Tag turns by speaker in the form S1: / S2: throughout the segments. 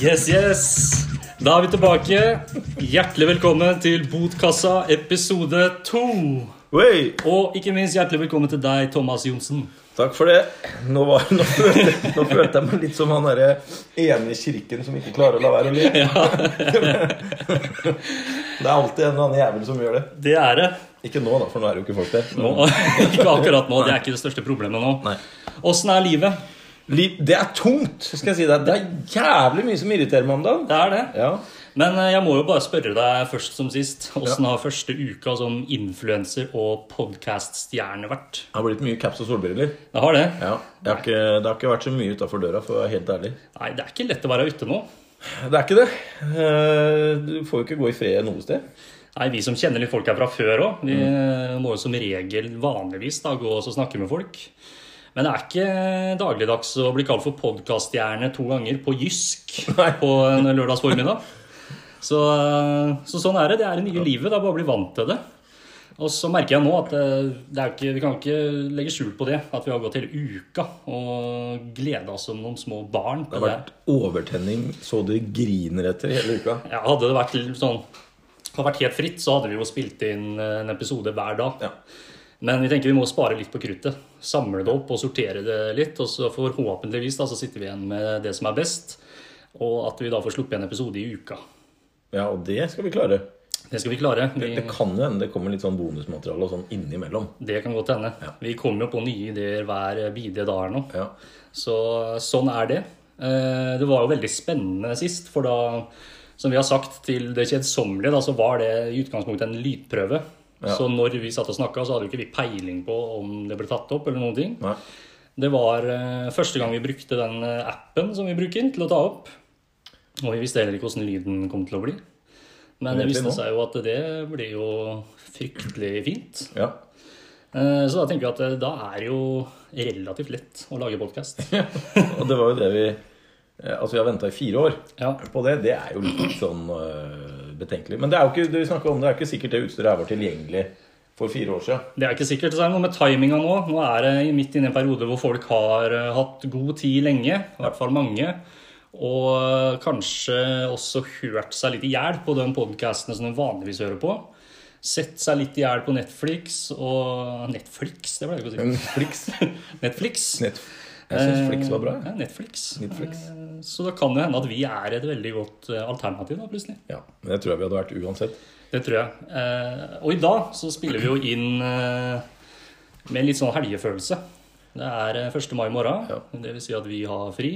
S1: Yes, yes. Da er vi tilbake. Hjertelig velkommen til Botkassa episode to.
S2: Oi,
S1: Og ikke minst hjertelig velkommen til deg, Thomas Johnsen.
S2: takk for det. Nå, var, nå, følte, nå følte jeg meg litt som han derre ene i kirken som ikke klarer å la være å le. det er alltid en eller annen jævel som gjør det.
S1: Det er det.
S2: Ikke nå, da, for nå er det jo ikke folk der. Men-
S1: Nå, ikke akkurat nå. Det er ikke det største problemet nå.
S2: Nei.
S1: Åssen er livet?
S2: Liv, det er tungt, skal jeg si deg. Det er jævlig mye som irriterer meg om dagen.
S1: Det er det.
S2: Ja.
S1: Men eh, jeg må jo bare spørre deg først som sist. Åssen har første uka som influenser og podkaststjerne vært?
S2: Det har blitt mye caps og solbriller.
S1: Det har det.
S2: Ja. Jeg har ikke, det har ikke vært så mye utafor døra, for å være helt ærlig.
S1: Nei, det er ikke lett å være ute nå.
S2: Det er ikke det. Eh, Du får jo ikke gå i fred noe sted.
S1: Nei, Vi som kjenner litt folk her fra før òg, vi
S2: Mm.
S1: eh, må jo som regel vanligvis da gå og så snakke med folk. Men det er ikke dagligdags å bli kalt for podkaststjerne to ganger på Jysk
S2: Nei.
S1: på en lørdags formiddag. Så, eh, så sånn er det. Det er det nye livet. Det er bare å bli vant til det. Og så merker jeg nå at eh, det er jo ikke, vi kan ikke legge skjul på det, at vi har gått hele uka og gleda oss som noen små barn.
S2: Det
S1: til
S2: har vært overtenning så det griner etter hele uka.
S1: Ja, hadde det vært litt sånn hadde det vært helt fritt, så hadde vi jo spilt inn eh, en episode hver dag.
S2: Ja.
S1: Men vi tenker vi må spare litt på kruttet. Samle det opp og sortere det litt. Og så forhåpentligvis da, så sitter vi igjen med det som er best. Og at vi da får sluppet en episode i uka.
S2: Ja, og det skal vi klare.
S1: Det skal vi klare. Vi,
S2: Det kan jo hende det kommer litt sånn bonusmateriale og sånn innimellom.
S1: det kan godt hende. Vi kommer jo på nye ideer hver eh, bidige dag her nå.
S2: Ja.
S1: Så sånn er det. Eh, Det var jo veldig spennende sist, for da, som vi har sagt til det kjedsommelige, da, så var det i utgangspunktet en lydprøve. Så når vi satt og snakka, så hadde jo ikke vi peiling på om det ble tatt opp eller noen ting.
S2: Nei.
S1: Det var eh, første gang vi brukte den eh, appen som vi bruker til å ta opp. Og vi visste heller ikke åssen lyden kom til å bli. Men det
S2: Det vet vi
S1: viste
S2: nå.
S1: seg jo at det ble jo fryktelig fint.
S2: Ja.
S1: Eh, Så da tenker vi at eh, da er det jo relativt lett å lage podkast.
S2: Og det var jo det vi eh, Altså, vi har venta i fire år
S1: Ja.
S2: på det. Det er jo litt sånn eh, betenkelig. Men det er jo ikke det vi snakket om, det er ikke sikkert det utstyret her var tilgjengelig for fire år siden.
S1: Det er ikke sikkert. Så er det noe med timinga nå. Nå er det i- midt inne i en periode hvor folk har eh, hatt god tid lenge, i hvert fall mange. Og eh, kanskje også hørt seg litt i hjel på de podkastene som de vanligvis hører på. Sett seg litt i hjel på Netflix og Netflix, det ble det ikke å si.
S2: Flix.
S1: Netflix. Eh,
S2: Net... Mm. Jeg syns Flix var bra. jeg.
S1: Ja, Netflix.
S2: Netflix.
S1: Eh, Så da kan det hende at vi er et veldig godt eh, alternativ, da, plutselig.
S2: Ja. Men det tror jeg vi hadde vært uansett.
S1: Det tror jeg. Eh, og i dag så spiller vi jo inn eh, med litt sånn helgefølelse. Det er eh, 1. mai i morgen,
S2: Ja.
S1: det vil si at vi har fri.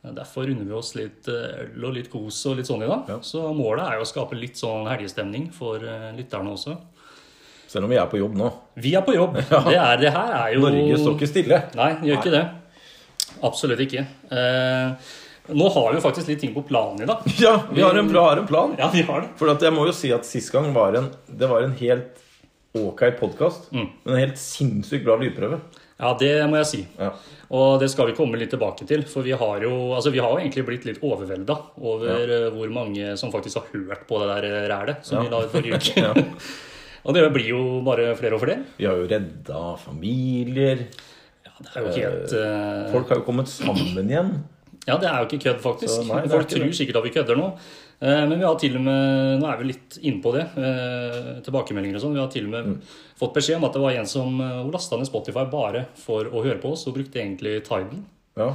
S1: Eh, Derfor runder vi oss litt eh, øl og litt kos og litt sånn i dag.
S2: Ja.
S1: Så målet er jo å skape litt sånn helgestemning for eh, lytterne også.
S2: Selv om vi er på jobb nå.
S1: Vi er på jobb. Det, er, det her er jo
S2: Norge står ikke stille.
S1: Nei, gjør ikke det. Absolutt ikke. Eh, nå har vi jo faktisk litt ting på planen i dag.
S2: Ja, vi har en, pla- har en plan.
S1: Ja, vi har det.
S2: For at jeg må jo si at sist gang var en, det var en helt ok podkast.
S1: Mm.
S2: Men en helt sinnssykt bra lydprøve.
S1: Ja, det må jeg si.
S2: Ja.
S1: Og det skal vi komme litt tilbake til, for vi har jo, altså vi har jo egentlig blitt litt overvelda over eh, hvor mange som faktisk har hørt på det der eh, rælet som vi la ut forrige uke.
S2: Ja.
S1: og det blir jo bare flere og flere.
S2: Vi har jo redda familier.
S1: Ja, det er jo helt eh,
S2: Folk har jo kommet sammen igjen.
S1: Ja, det er jo ikke kødd, faktisk.
S2: Så nei, det er
S1: Folk
S2: ikke det.
S1: tror sikkert at vi kødder nå. Eh, Men vi har til og med Nå er vi litt inne på det. eh, Tilbakemeldinger og sånn. Vi har til og med
S2: Mm.
S1: fått beskjed om at det var en som eh, lasta ned Spotify bare for å høre på oss, og brukte egentlig Tidal.
S2: Ja,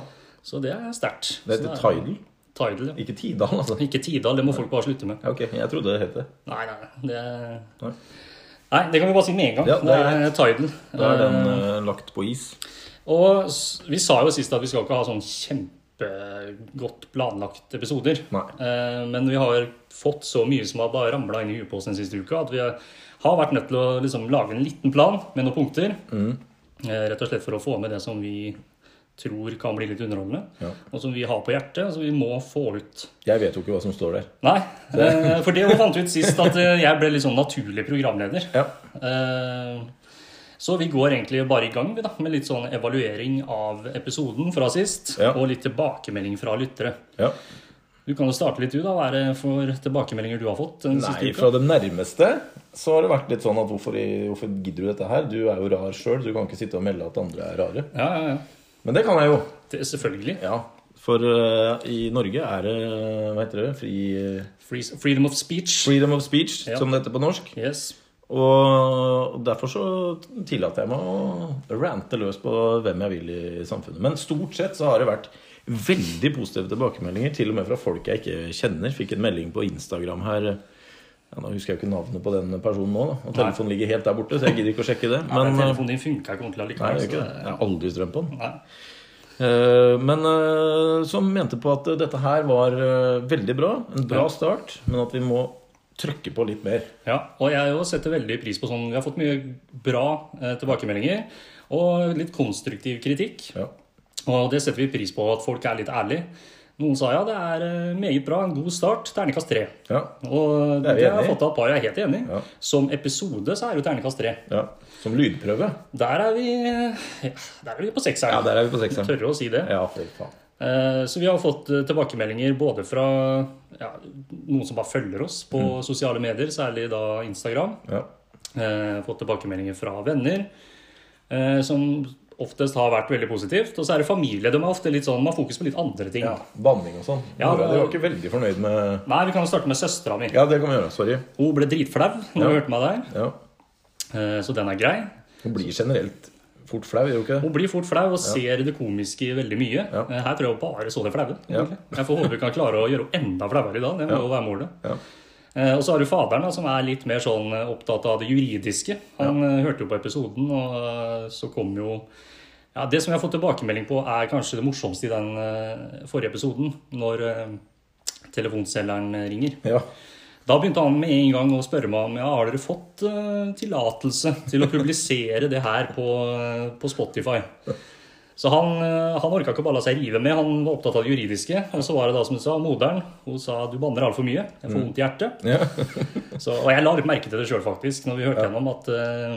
S1: Så det er sterkt.
S2: Det
S1: Så
S2: heter Tidal,
S1: Tidal, ja.
S2: ikke Tidal. altså.
S1: Ikke Tidal, det må folk bare slutte med.
S2: Ja, ok, Jeg trodde det het det.
S1: Nei, nei, det...
S2: Nei.
S1: Nei, det kan vi bare si med en gang.
S2: Ja,
S1: det
S2: det
S1: er,
S2: er
S1: Tidal.
S2: Da er den eh, lagt på is.
S1: Og s- vi sa jo sist at vi skal ikke ha sånn kjempegodt planlagt episoder.
S2: Nei.
S1: Eh, Men vi har fått så mye som har bare ramla inn i huet på oss den siste uka, at vi har vært nødt til å liksom lage en liten plan med noen punkter.
S2: Mm.
S1: Eh, Rett og slett for å få med det som vi tror kan bli litt underholdende,
S2: Ja.
S1: og som vi har på hjertet, så vi må få ut.
S2: Jeg vet jo ikke hva som står der.
S1: Nei, eh, for det fant vi ut sist, at eh, jeg ble litt sånn naturlig programleder.
S2: Ja,
S1: Eh, Så vi går egentlig bare i gang vi da, med litt sånn evaluering av episoden fra sist.
S2: Ja.
S1: Og litt tilbakemelding fra lyttere.
S2: ja.
S1: Du kan jo starte litt, du, da. Hva er det for tilbakemeldinger du har fått den
S2: Nei,
S1: siste
S2: fra
S1: uka?
S2: det nærmeste så har det vært litt sånn at hvorfor, i- hvorfor gidder du dette her? Du er jo rar sjøl, du kan ikke sitte og melde at andre er rare.
S1: Ja, ja, ja.
S2: Men det kan jeg jo.
S1: Det, selvfølgelig.
S2: Ja, For eh, i Norge er det hva heter det, fri,
S1: Free- Freedom of speech.
S2: freedom of speech,
S1: Ja.
S2: som det heter på norsk.
S1: Yes.
S2: Og derfor så tillater jeg meg å rante løs på hvem jeg vil i samfunnet. Men stort sett så har det vært veldig positive tilbakemeldinger, til og med fra folk jeg ikke kjenner. Fikk en melding på Instagram her. Ja, nå husker jeg ikke navnet på den personen nå, da. og telefonen ligger helt der borte, så jeg gidder ikke å sjekke det.
S1: Men,
S2: Men, nei,
S1: telefonen din funka ikke ordentlig
S2: det
S1: allikevel.
S2: gjør ikke det. Jeg har aldri strøm på den.
S1: så det- Nei.
S2: Eh, Men eh, som mente på at dette her var eh, veldig bra, en bra
S1: Ja.
S2: start, men at vi må trykke på litt mer.
S1: Ja, og jeg også setter veldig pris på sånn Vi har fått mye bra eh, tilbakemeldinger og litt konstruktiv kritikk.
S2: Ja.
S1: Og det setter vi pris på, at folk er litt ærlige. Noen sa ja, det er eh, meget bra, en god start. Terningkast tre.
S2: Ja.
S1: Og
S2: Det
S1: det,
S2: er vi
S1: har
S2: enig
S1: jeg
S2: i.
S1: fått av et par jeg er helt enig i.
S2: Ja.
S1: Som episode så er jo terningkast tre.
S2: ja. Som lydprøve.
S1: Der er vi, ja, der er vi på
S2: Ja,
S1: sekseren.
S2: der er vi på sekseren.
S1: Tørre å si det.
S2: Ja, for faen.
S1: Eh, Så vi har fått eh, tilbakemeldinger både fra ja, noen som bare følger oss på
S2: Mm.
S1: sosiale medier, særlig da Instagram.
S2: Ja.
S1: Eh, fått tilbakemeldinger fra venner, eh, som oftest har vært veldig positivt. Og så er det familie. De er ofte litt sånn, man har fokus på litt andre ting.
S2: Banning og sånn.
S1: Ja,
S2: Mora di
S1: det-
S2: var ikke veldig fornøyd med
S1: Nei, vi kan jo starte med søstera mi.
S2: Ja, det kan vi gjøre. Sorry.
S1: Hun ble dritflau når
S2: Ja.
S1: hun hørte meg der,
S2: Ja.
S1: eh, så den er grei.
S2: Hun blir generelt fort flau, gjør hun ikke det?
S1: Hun blir fort flau og ser det komiske i veldig mye.
S2: Ja.
S1: Eh, Her tror jeg hun bare så det flaue.
S2: Ja.
S1: egentlig. Jeg får håpe vi kan klare å gjøre henne enda flauere i dag. Det må jo være målet.
S2: Ja.
S1: Eh, Og så har du faderen, da, som er litt mer sånn eh, opptatt av det juridiske. Han eh, hørte jo på episoden, og eh, så kom jo ja, Det som jeg har fått tilbakemelding på, er kanskje det morsomste i den eh, forrige episoden. Når eh, telefonselgeren ringer.
S2: Ja.
S1: Da begynte han med en gang å spørre meg om ja, har dere fått eh, tillatelse til å publisere det her på, eh, på Spotify. Så han, eh, han orka ikke å bare la seg rive med, han var opptatt av det juridiske. Og så var det da, som du sa, moderen. Hun sa du banner altfor mye, jeg får vondt i hjertet.
S2: Ja.
S1: Så, og jeg la litt merke til det sjøl, faktisk, når vi hørte gjennom at eh,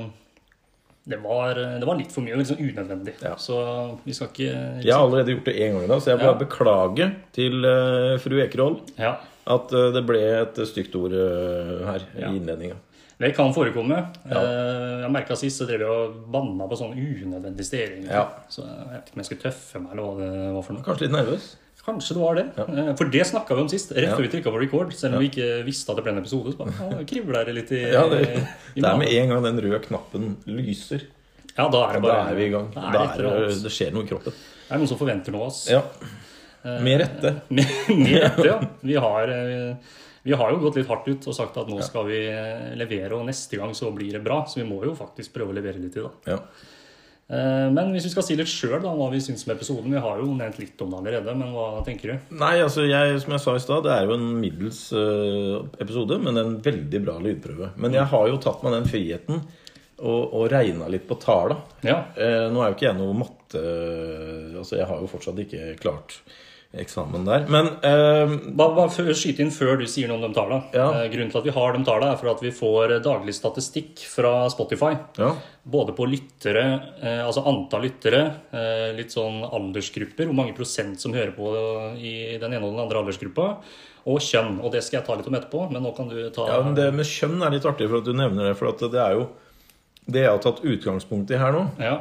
S1: det, var, det var litt for mye og litt sånn unødvendig.
S2: Ja.
S1: Så vi skal ikke
S2: Jeg har allerede gjort det én gang i dag, så jeg bare
S1: Ja.
S2: beklager til eh, fru Ekerhold
S1: Ja.
S2: at eh, det ble et stygt ord eh, her
S1: Ja.
S2: i innledninga.
S1: Det kan forekomme. Eh, Jeg merka sist så drev jeg og banna på sånne unødvendige steder. egentlig.
S2: Ja.
S1: Så jeg vet ikke om jeg skulle tøffe meg, eller hva det var for noe.
S2: Kanskje litt nervøs.
S1: Kanskje det var det. Eh, For det snakka vi om sist, rett
S2: Ja.
S1: før vi trykka på record. Selv om vi ikke visste at det ble en episode. Så bare, ja, kribler det litt i,
S2: Ja, det,
S1: i
S2: det er med
S1: magen.
S2: en gang den røde knappen lyser.
S1: Ja, da er det
S2: Da
S1: bare
S2: er vi i gang.
S1: Da
S2: Da
S1: er det,
S2: er
S1: et eller
S2: det,
S1: annet.
S2: det skjer noe i kroppen.
S1: det er noen som forventer noe av oss.
S2: Ja. Med rette.
S1: Med, med dette, ja. Vi har, eh, vi har jo gått litt hardt ut og sagt at nå skal vi eh, levere, og neste gang så blir det bra. Så vi må jo faktisk prøve å levere litt i dag.
S2: Ja.
S1: Eh, Men hvis vi skal si litt sjøl om hva vi syns om episoden Vi har jo nevnt litt om det allerede, men hva tenker du?
S2: Nei, altså jeg, som jeg sa i stad, det er jo en middels eh, episode, men en veldig bra lydprøve. Men jeg har jo tatt meg den friheten og, og regna litt på talla.
S1: Ja.
S2: Eh, nå er jo ikke jeg noe matte Altså, jeg har jo fortsatt ikke klart eksamen der. Men eh,
S1: Bare, bare før- skyte inn før du sier noe om de tallene.
S2: Ja.
S1: Eh, Grunnen til at vi har de tallene, er for at vi får eh, daglig statistikk fra Spotify.
S2: ja.
S1: Både på lyttere, eh, altså antall lyttere, eh, litt sånn aldersgrupper, hvor mange prosent som hører på i den ene og den andre aldersgruppa, og kjønn. Og det skal jeg ta litt om etterpå, men nå kan du ta
S2: ja, men det med kjønn er litt artig for at du nevner det. For at det er jo Det jeg har tatt utgangspunkt i her nå,
S1: Ja.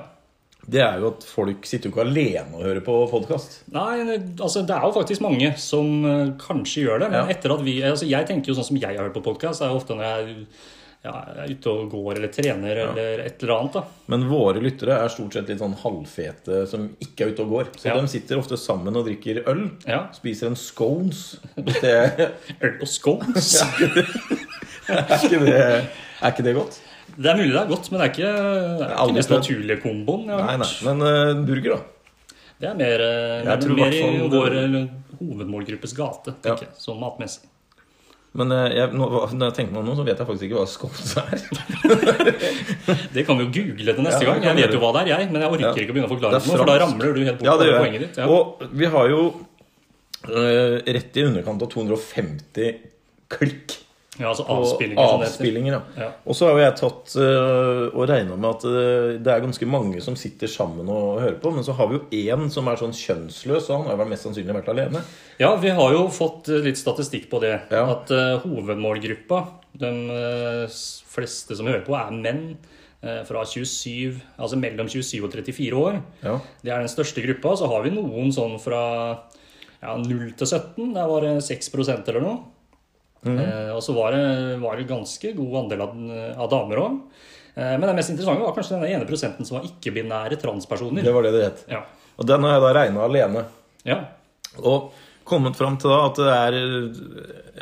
S2: det er jo at folk sitter jo ikke alene og hører på podkast.
S1: Nei, det- altså det er jo faktisk mange som eh, kanskje gjør det. Men
S2: Ja.
S1: etter at vi, altså jeg tenker jo sånn som jeg har hørt på podkast, er jo ofte når jeg ja, er ute og går eller trener eller et eller annet. da.
S2: Men våre lyttere er stort sett litt sånn halvfete som ikke er ute og går. Så
S1: Ja.
S2: de sitter ofte sammen og drikker øl.
S1: Ja.
S2: Spiser en scones. Hvis det, er,
S1: Øl og scones.
S2: ikke det, er ikke det godt?
S1: Det er mulig det er godt, men det er ikke, det er ikke
S2: aldri
S1: den mest
S2: prøvd.
S1: naturlige komboen. jeg har
S2: Nei, nei.
S1: hørt.
S2: Men eh, en burger, da.
S1: Det er mer, eh,
S2: Jeg tror
S1: mer, mer i
S2: hvertfall-
S1: vår eh, hovedmålgruppes gate,
S2: Ja.
S1: tenker jeg, sånn matmessig.
S2: Men eh, jeg, nå, hva- når jeg tenker meg om nå, så vet jeg faktisk ikke hva scones er.
S1: Det kan vi jo google til neste
S2: Ja,
S1: gang.
S2: det kan
S1: Jeg
S2: vi
S1: vet jo hva det er, jeg, men jeg orker
S2: Ja.
S1: ikke å begynne å
S2: Det
S1: forklare
S2: er
S1: det nå, for da
S2: fransk.
S1: ramler du helt bort
S2: Ja, det
S1: fra
S2: gjør
S1: poenget
S2: jeg.
S1: ditt. Ja.
S2: Og vi har jo eh, rett i underkant av 250 klikk
S1: ja, altså
S2: på
S1: avspillinger. som det heter.
S2: avspillinger. Ja.
S1: Ja.
S2: Og så har jo jeg tatt øh, og regna med at øh, det er ganske mange som sitter sammen og hører på. Men så har vi jo én som er sånn kjønnsløs, og han har vel mest sannsynlig vært alene.
S1: Ja, vi har jo fått eh, litt statistikk på det.
S2: Ja.
S1: At eh, hovedmålgruppa, de eh, s- fleste som hører på, er menn eh, fra 27, altså mellom 27 og 34 år.
S2: Ja.
S1: Det er den største gruppa. Så har vi noen sånn fra ja, 0 til 17. Der var det 6 eller noe. Eh, og så var det, var det ganske god andel av, av damer òg. Eh, men det mest interessante var kanskje den ene prosenten som var ikke-binære transpersoner.
S2: Det var det det het.
S1: Ja.
S2: Og den har jeg da regna alene.
S1: ja.
S2: Og kommet fram til da at det er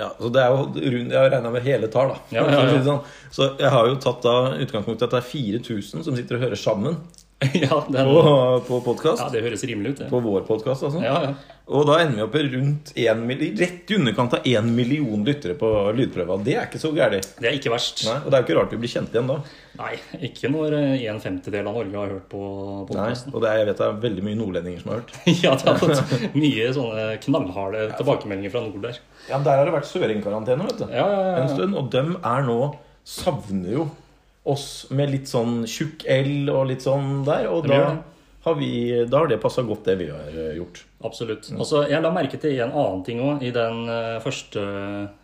S2: ja, så det er jo rundt, Jeg har regna med hele tall, da.
S1: Ja, ja, ja.
S2: Sånn. Så jeg har jo tatt da utgangspunktet at det er 4000 som sitter og hører sammen
S1: ja, den,
S2: på, på podkast.
S1: ja, det høres rimelig ut, det.
S2: På vår podkast, altså.
S1: Ja, ja.
S2: Og da ender vi opp i rundt en milli, rett i underkant av én million lyttere på lydprøva. Det er ikke så gærent.
S1: Det er ikke verst.
S2: Nei, Og det er jo ikke rart vi blir kjent igjen da.
S1: Nei, ikke når eh, en femtedel av Norge har hørt på
S2: Nei,
S1: podkasten.
S2: og det er, jeg vet det er veldig mye nordlendinger som har hørt.
S1: Ja, det har fått mye sånne knallharde tilbakemeldinger fra nord der.
S2: Ja, Der har det vært søringkarantene vet du.
S1: Ja, ja, ja,
S2: en stund. Og dem er nå Savner jo oss med litt sånn tjukk L og litt sånn der. Og
S1: Dem
S2: da
S1: gjør det.
S2: har, vi, da har det passa godt, det vi har eh, gjort.
S1: Absolutt. Altså, jeg la merke til en annen ting òg i den eh, første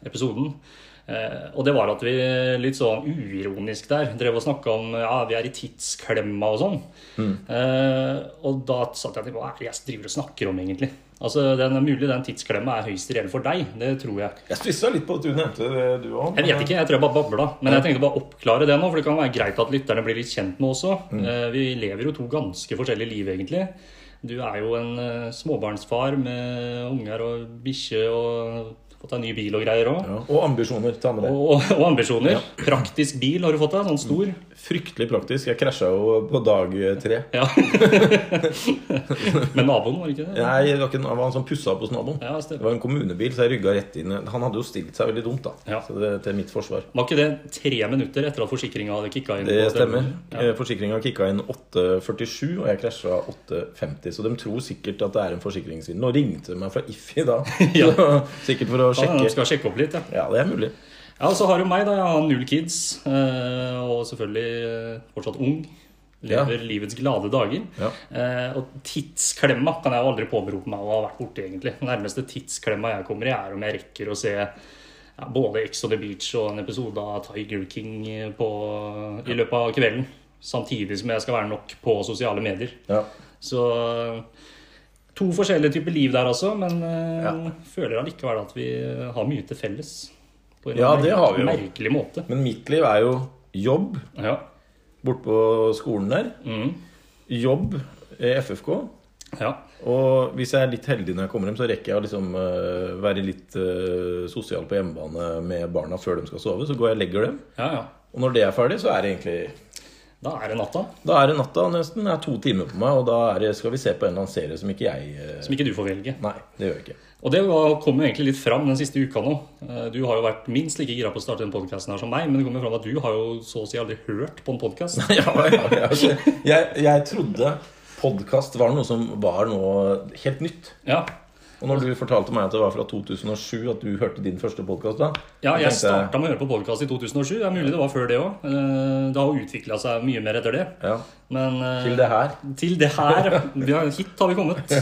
S1: episoden. Eh, og det var at vi litt sånn uironisk der drev og snakka om ja, vi er i tidsklemma og sånn.
S2: Mm.
S1: Eh, og da satt jeg og tenkte hva er det jeg driver og snakker om egentlig? Altså, den, Mulig den tidsklemma er høyst reell for deg, det tror jeg.
S2: Jeg stussa litt på at du nevnte det, du òg.
S1: Jeg vet ikke, jeg tror jeg bare babla. Men jeg tenkte bare oppklare det nå, for det kan være greit at lytterne blir litt kjent med også.
S2: Mm.
S1: Eh, Vi lever jo to ganske forskjellige liv, egentlig. Du er jo en eh, småbarnsfar med unger og bikkje og fått deg ny bil og greier òg.
S2: Ja, og ambisjoner. Ta med det.
S1: Og, og ambisjoner. Praktisk bil har du fått deg, sånn stor.
S2: Mm. Fryktelig praktisk. Jeg krasja jo på dag eh, tre.
S1: Ja. Med naboen, var det ikke det?
S2: Nei, det var ikke, det var sånn han som pussa opp hos naboen.
S1: Ja,
S2: Det
S1: stemmer.
S2: var en kommunebil, så jeg rygga rett inn. Han hadde jo stilt seg veldig dumt, da.
S1: Ja.
S2: Så det, til mitt forsvar.
S1: Var ikke det tre minutter etter at forsikringa hadde kicka inn?
S2: Det
S1: på
S2: stemmer. Eh,
S1: telefonen? Ja.
S2: Forsikringa kicka inn 8.47, og jeg krasja 8.50. Så de tror sikkert at det er en forsikringssvindel. Nå ringte de meg fra Iffi da.
S1: Ja.
S2: Så, sikkert for å
S1: Ja,
S2: sjekke.
S1: skal sjekke opp litt, ja.
S2: Ja, det er mulig.
S1: Ja, og så har du meg, da. Jeg har null kids. eh, Og selvfølgelig eh, fortsatt ung. Lever livets glade dager.
S2: Ja.
S1: Eh, Og tidsklemma kan jeg jo aldri påberope meg å ha vært borti, egentlig. Den nærmeste tidsklemma jeg kommer i, er om jeg rekker å se ja, både Ex on the Beach og en episode av Tiger King på, i løpet av kvelden. Samtidig som jeg skal være nok på sosiale medier.
S2: Ja.
S1: Så to forskjellige typer liv der altså, men eh,
S2: Ja.
S1: føler allikevel at vi eh, har mye til felles. På en
S2: Ja, det har vi jo.
S1: merkelig måte.
S2: Men mitt liv er jo jobb
S1: Ja. Mm.
S2: borte på skolen der. Jobb i FFK.
S1: ja.
S2: Og hvis jeg er litt heldig når jeg kommer hjem, så rekker jeg å liksom, eh, være litt eh, sosial på hjemmebane med barna før de skal sove. Så går jeg og legger dem.
S1: Ja, ja.
S2: Og når det er ferdig, så er det egentlig
S1: Da er det natta,
S2: Da er det natta nesten. Det er to timer på meg, og da er det, skal vi se på en eller annen serie som ikke jeg eh,
S1: som ikke du får velge.
S2: Nei, det gjør jeg ikke.
S1: Og det var- kom jo egentlig litt fram den siste uka nå. Eh, Du har jo vært minst like gira på å starte den podkasten her som meg, men det kommer fram at du har jo så å si aldri hørt på en podkast.
S2: Ja, ja, ja, altså, jeg, jeg trodde podkast var noe som var noe helt nytt.
S1: Ja.
S2: Og når du fortalte meg at det var fra 2007 at du hørte din første podkast da
S1: Ja,
S2: da
S1: jeg
S2: tenkte
S1: starta med å høre på podkast i 2007. Det er mulig det var før det òg. Det har jo utvikla seg mye mer etter det.
S2: ja,
S1: Men eh,
S2: Til det her.
S1: Til det her. Vi har, hit har vi kommet.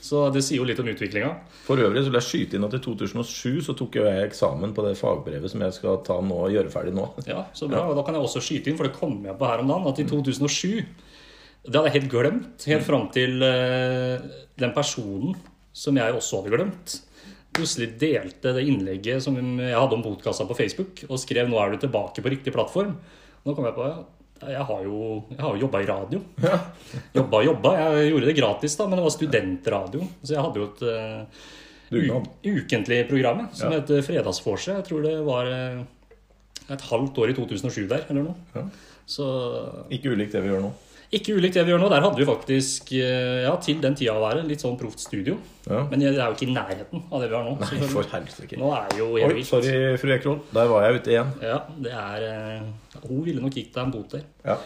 S1: Så det sier jo litt om utviklinga.
S2: For øvrig så vil jeg skyte inn at i 2007 så tok jo jeg eksamen på det fagbrevet som jeg skal ta nå og gjøre ferdig nå.
S1: Ja, så bra. Og da kan jeg også skyte inn, for det kom jeg på her om dagen, at i 2007 Det hadde jeg helt glemt, helt fram til eh, den personen som jeg også hadde glemt, plutselig delte det innlegget som jeg hadde om botkassa på Facebook, og skrev 'Nå er du tilbake på riktig plattform'. Nå kom jeg på ja, jeg har jo, jeg har jo jobba i radio. Jobba og jobba. Jeg gjorde det gratis, da, men det var studentradio. Så jeg hadde jo et eh,
S2: Dugnad.
S1: u- ukentlig program som het Fredagsvorset. Jeg tror det var eh, et halvt år i 2007 der, eller noe.
S2: Ja.
S1: Så
S2: Ikke ulikt det vi gjør nå.
S1: ikke ulikt det vi gjør nå. Der hadde vi faktisk, eh, ja, til den tida å være, litt sånn proft studio.
S2: Ja.
S1: Men det er jo ikke i nærheten av det vi har nå.
S2: Nei,
S1: selvfølgelig.
S2: for helvete ikke.
S1: Nå er det jo
S2: Oi,
S1: evig.
S2: sorry, fru Ekroll. Der var jeg ute igjen.
S1: Ja, det er eh, Hun ville nok gitt deg en bot der.
S2: Ja.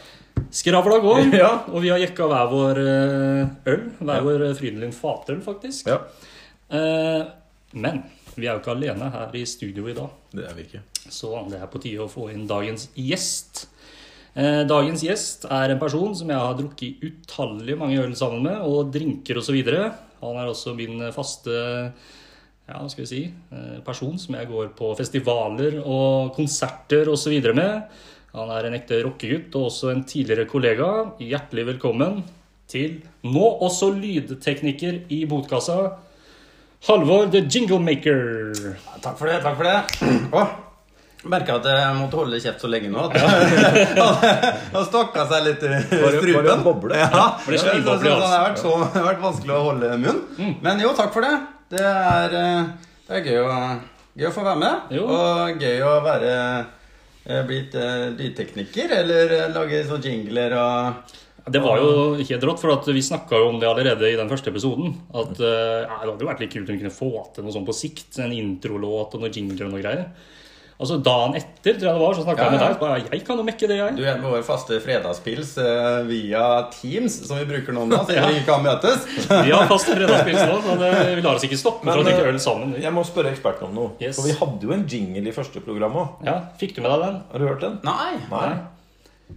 S1: Skravla går,
S2: Ja.
S1: og vi har jekka hver vår eh, øl. Hver vår eh, Frydenlund fatøl, faktisk.
S2: ja.
S1: Eh, Men vi er jo ikke alene her i studio i dag,
S2: Det er vi ikke.
S1: så det er på tide å få inn dagens gjest. Eh, Dagens gjest er en person som jeg har drukket utallige mange øl sammen med, og drinker osv. Han er også min faste ja, hva skal vi si, eh, person som jeg går på festivaler og konserter osv. med. Han er en ekte rockegutt og også en tidligere kollega. Hjertelig velkommen til nå også lydtekniker i botkassa, Halvor the Jinglemaker.
S3: Takk for det. takk for det Åh, Merka at jeg måtte holde kjeft så lenge nå. At han han stokka seg litt i
S2: Bare-
S3: strupen.
S2: bare en boble.
S3: Ja,
S1: det er så
S3: sånn-
S1: ildboble i Mm. halsen.
S3: sånn- det har vært, så, det har vært vanskelig å holde munn. Men jo, takk for det. Det er, eh, det er gøy, å, gøy å få være med.
S1: Jo.
S3: Og gøy å være eh, blitt eh, lydtekniker eller eh, lage sånne jingler og
S1: Det var jo helt rått, for at vi snakka jo om det allerede i den første episoden. At eh, ja, det hadde jo vært litt kult om vi kunne få til noe sånn på sikt. En introlåt og noe jingler og noe greier. Altså Dagen etter tror jeg det var, så snakka
S3: Ja,
S1: jeg med
S3: ja.
S1: deg. Så bare, jeg kan jo mekke det, jeg.
S3: Du er vår faste fredagspils eh, via Teams, som vi bruker nå om dagen, siden vi ikke kan møtes.
S1: Vi har fast fredagspils nå, så det, vi lar oss ikke stoppe for å
S2: Men,
S1: drikke
S2: eh,
S1: øl sammen. vi.
S2: Jeg må spørre eksperten om noe.
S1: Yes.
S2: For vi hadde jo en jingle i første program òg.
S1: Ja, Fikk du med deg den?
S2: Har du hørt den?
S3: Nei!
S2: Nei.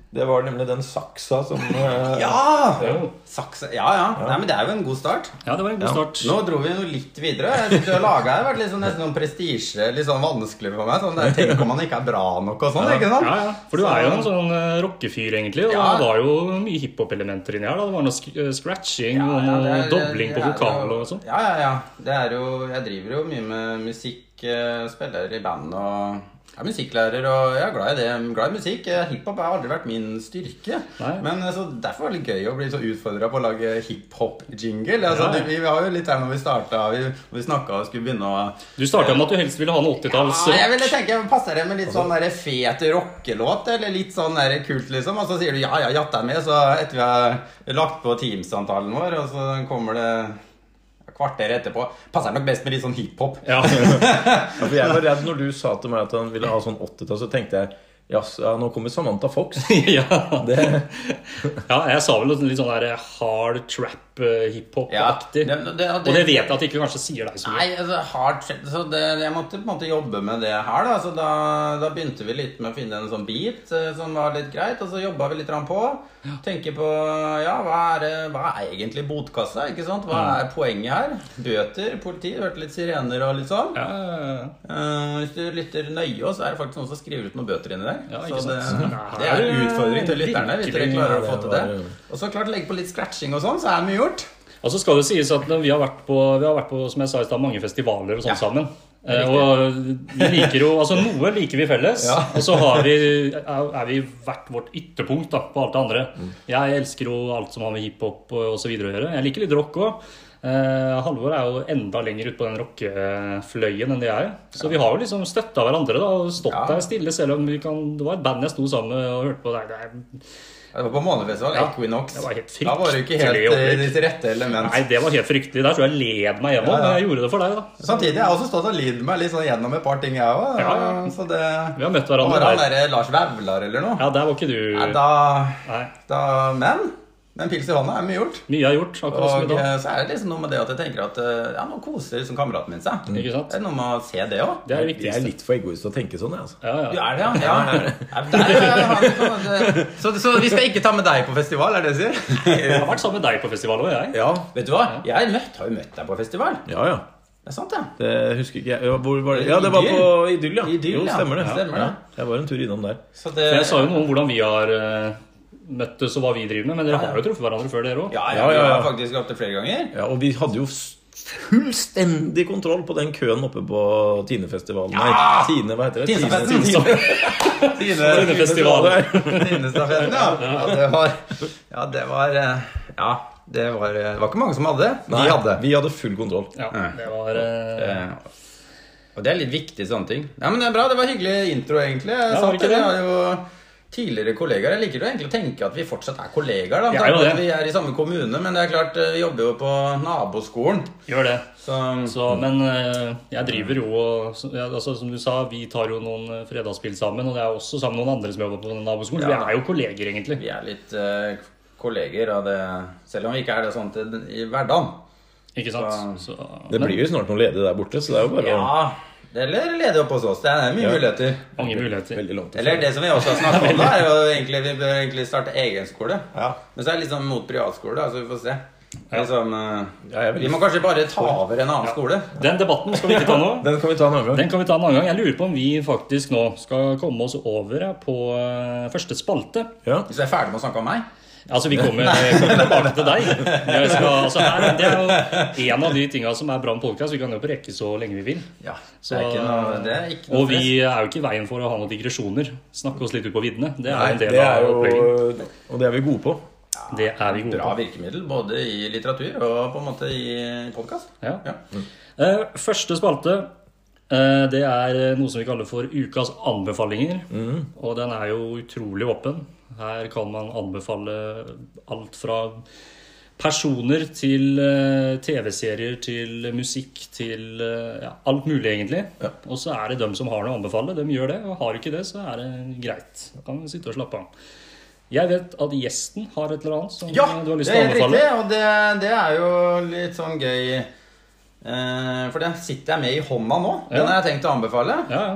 S2: Det var nemlig den saksa som eh,
S3: Ja!
S1: Jo.
S3: Sakse, ja, ja. Nei, men Det er jo en god start.
S1: Ja, det var en god start.
S3: Nå dro vi noe litt videre. Jeg synes det å lage her har vært litt sånn- nesten sånn prestisje, litt sånn vanskelig for meg. Sånn, der, tenk om man ikke er bra nok og sånn. ikke sant?
S1: Ja, ja. For du er jo en sånn eh, rockefyr, egentlig. Og
S3: Ja.
S1: det var jo mye hiphop-elementer inni her. da Det var noe sk eh, scratching og
S3: Ja, ja,
S1: noe
S3: det er-
S1: dobling på
S3: det er
S1: vokal
S3: jo-
S1: og sånn.
S3: Ja, ja, ja. Det er jo, jeg driver jo mye med musikk, eh, spiller i band og jeg er musikklærer og jeg er glad i det. Jeg er glad i musikk. Eh, Hiphop har aldri vært min styrke.
S1: Nei.
S3: Men eh, så Derfor var det litt gøy å bli så utfordra på å lage hiphop-jingle.
S1: Ja.
S3: Altså, du- vi, vi har jo litt her når vi starta, vi, vi snakka og skulle begynne å
S1: Du starta med at du helst ville ha en 80-talls
S3: Ja, jeg ville tenke, Passer det med litt sånn der fet rockelåt, eller litt sånn der kult, liksom? Og så sier du ja, ja, jatta er med, så etter vi har lagt på Teams-samtalen vår, og så kommer det et kvarter etterpå Passer nok best med litt sånn hiphop.
S1: Ja.
S2: Ja, for jeg var redd når du sa til meg at han ville ha sånn 80-tall, så tenkte jeg Jaså, ja, nå kommer Samantha Fox.
S1: ja.
S2: Det,
S1: ja, jeg sa vel litt sånn der hard trap eh, hiphop-aktig.
S3: Ja, det- det- det-
S1: Og det vet jeg at det ikke kanskje sier deg så mye.
S3: Nei, altså, hard shit, så det, jeg måtte på en måte jobbe med det her. Da. Så da, da begynte vi litt med å finne en sånn beat eh, som var litt greit, og så jobba vi litt grann på. Tenke på ja, hva er, eh, hva er egentlig botkassa? ikke sant? Hva er poenget her? Bøter, politi, hørte litt sirener og litt sånn.
S1: Ja, ja,
S3: Eh, hvis du lytter nøye, så er det faktisk noen som skriver ut noen bøter inni der.
S1: Ja, ikke
S3: så det,
S1: sant?
S3: det er en utfordring til lytterne. Hvis dere klarer å få
S2: Virkelig, ja,
S3: til det.
S2: det var-
S3: Og så klart legge på litt scratching og sånn, så er mye gjort.
S1: ja. Og så skal det sies at vi har vært på, vi har vært på som jeg sa i stad, mange festivaler og sånn
S3: Ja.
S1: sammen. Eh, Og vi liker jo, altså Noe liker vi felles, og så har vi, er er vi hvert vårt ytterpunkt da, på alt det andre.
S3: Mm.
S1: Jeg elsker jo alt som har med hiphop osv. å gjøre. Jeg liker litt rock òg. Eh, Halvor er jo enda lenger ut på den rockefløyen enn det jeg er. Så vi har jo liksom støtta hverandre da, og stått
S3: Ja.
S1: der stille, selv om vi kan, det var et band jeg sto sammen med og hørte på. Nei, det er
S3: Ja, Det var på månefestival,
S1: Ja,
S3: Equinox.
S1: det var helt
S3: da var du ikke helt
S1: fryktelig
S3: eh, i
S1: opplegg.
S3: ditt rette element.
S1: Nei, det var helt fryktelig. Der tror jeg jeg led meg gjennom.
S3: Ja, ja.
S1: Men jeg gjorde det for deg, da.
S3: Samtidig har jeg også stått og lidd meg litt sånn gjennom et par ting, jeg òg.
S1: Ja, ja.
S3: Så det
S1: Vi har møtt
S3: Var
S1: hverandre
S3: han
S1: der.
S3: derre Lars Vaular eller noe?
S1: Ja, der var ikke du
S3: Nei, da,
S1: Nei.
S3: da Men men pils i hånda er mye gjort.
S1: Mye er gjort, akkurat som i
S3: Og
S1: dag.
S3: eh, så er det liksom noe med det at jeg tenker at eh, ja, nå koser liksom kameraten min seg.
S1: Ikke sant?
S3: Det er noe med å se det
S1: Det er
S3: òg.
S1: det
S2: jeg er
S1: viktigste.
S2: litt for egoist til å tenke sånn, jeg, altså.
S1: Ja,
S3: Du
S1: ja.
S3: er det, ja? ja. ja, der, ja, ja, ja. Det- Så, så vi skal ikke ta med deg på festival, er det det du
S1: Jeg
S3: sier?
S1: har vært sammen med deg på festival òg, jeg.
S2: Ja,
S3: Vet du hva? Jeg møtt, har jo møtt deg på festival.
S2: ja. ja.
S3: Det er sant, ja.
S2: Det husker ikke jeg. Ja, Hvor var det? ja, det var på Idyll, ja.
S3: Idyll,
S2: Jo,
S3: ja.
S2: stemmer det.
S3: Stemmer det.
S2: Ja. Jeg var en tur innom der.
S3: Så det,
S1: Jeg sa jo noe om hvordan vi har eh, møttes og hva vi driver med, men dere har jo truffet hverandre før, dere òg.
S3: Ja,
S2: Ja,
S3: ja,
S2: ja,
S3: vi
S2: ja.
S3: har faktisk opptil flere ganger.
S2: Ja, og vi hadde jo s- fullstendig kontroll på den køen oppe på Tinefestivalen. Nei,
S3: Ja!
S2: Tine, hva heter det?
S3: Tinefesten. Tine-
S1: Tinefestivalen.
S3: Tinestafetten, ja. ja. Det var Ja, det var eh, Ja, det var, eh, det var ikke mange som hadde.
S2: Nei,
S3: Vi hadde.
S2: Vi hadde full kontroll.
S1: Ja, det var eh,
S3: Eh, Og det er litt viktig, sånne ting. Ja, men det er bra. Det var hyggelig intro, egentlig.
S1: Ja,
S3: Jeg satt
S1: var det ikke
S3: der,
S1: det?
S3: jeg er jo tidligere kollegaer. Jeg liker jo egentlig å tenke at vi fortsatt er kollegaer. Da. Sånn,
S1: Vi er jo det.
S3: Vi er i samme kommune, men det er klart, eh, vi jobber jo på naboskolen.
S1: Gjør det.
S3: Så
S1: Så, men eh, jeg driver jo og så- ja, altså, Som du sa, vi tar jo noen eh, fredagspill sammen, og det er jo også sammen med noen andre som jobber på naboskolen. Vi
S3: Ja.
S1: er jo kolleger, egentlig.
S3: vi er litt eh, kolleger, og det, selv om vi ikke er det sånn til, i hverdagen.
S1: Ikke sant? Så,
S2: Det
S1: men-
S2: blir jo snart noe ledig der borte, så det er jo bare å
S3: Ja, eller ledig opp hos oss. Det er mye
S2: Ja.
S3: muligheter.
S1: Mange muligheter.
S2: Veldig langt.
S3: Eller det som vi også har snakket om, da, er jo egentlig vi bør egentlig starte egen skole.
S2: Ja.
S3: Men så er det litt sånn mot privatskole, da, så vi får se. Det er sånn, eh,
S2: Ja, jeg er veldig-
S3: vi må kanskje bare ta over en annen skole.
S1: Den debatten skal vi ikke ta nå.
S2: Den kan vi ta en annen gang.
S1: Den kan vi ta en annen gang. Jeg lurer på om vi faktisk nå skal komme oss over ja, på eh, første spalte.
S2: Ja.
S3: Hvis jeg er ferdig med å snakke om meg.
S1: Altså, vi kommer, kommer tilbake til deg. Jeg skal, altså, her, det er jo en av de tinga som er bra med podkast. Vi kan jo på rekke så lenge vi vil.
S3: Ja,
S1: Så-
S3: det er ikke noe, det er ikke noe
S1: Og
S3: stress.
S1: vi er jo ikke i veien for å ha noen digresjoner. Snakke oss litt ut på viddene. Det er
S2: Nei,
S1: jo en
S2: det
S1: del
S2: er
S1: av opplegget.
S2: jo Og det er vi gode på.
S1: Det er vi gode
S3: Bra
S1: på.
S3: virkemiddel både i litteratur og på en måte i podkast.
S1: Ja.
S3: Ja.
S1: Eh, Første spalte eh, det er noe som vi kaller for ukas anbefalinger.
S3: Mm.
S1: Og den er jo utrolig åpen. Her kan man anbefale alt fra personer til eh, TV-serier til musikk til eh, ja, alt mulig, egentlig. Og så er det dem som har noe å anbefale. De gjør det. Og har ikke det, så er det greit. Da kan vi sitte og slappe av. Jeg vet at gjesten har et eller annet som
S3: Ja,
S1: eh, du har lyst
S3: det
S1: til
S3: er
S1: å
S3: helt
S1: anbefale.
S3: riktig, og det, det er jo litt sånn gøy eh, For den sitter jeg med i hånda nå. Den har jeg tenkt å anbefale.
S1: Ja, ja.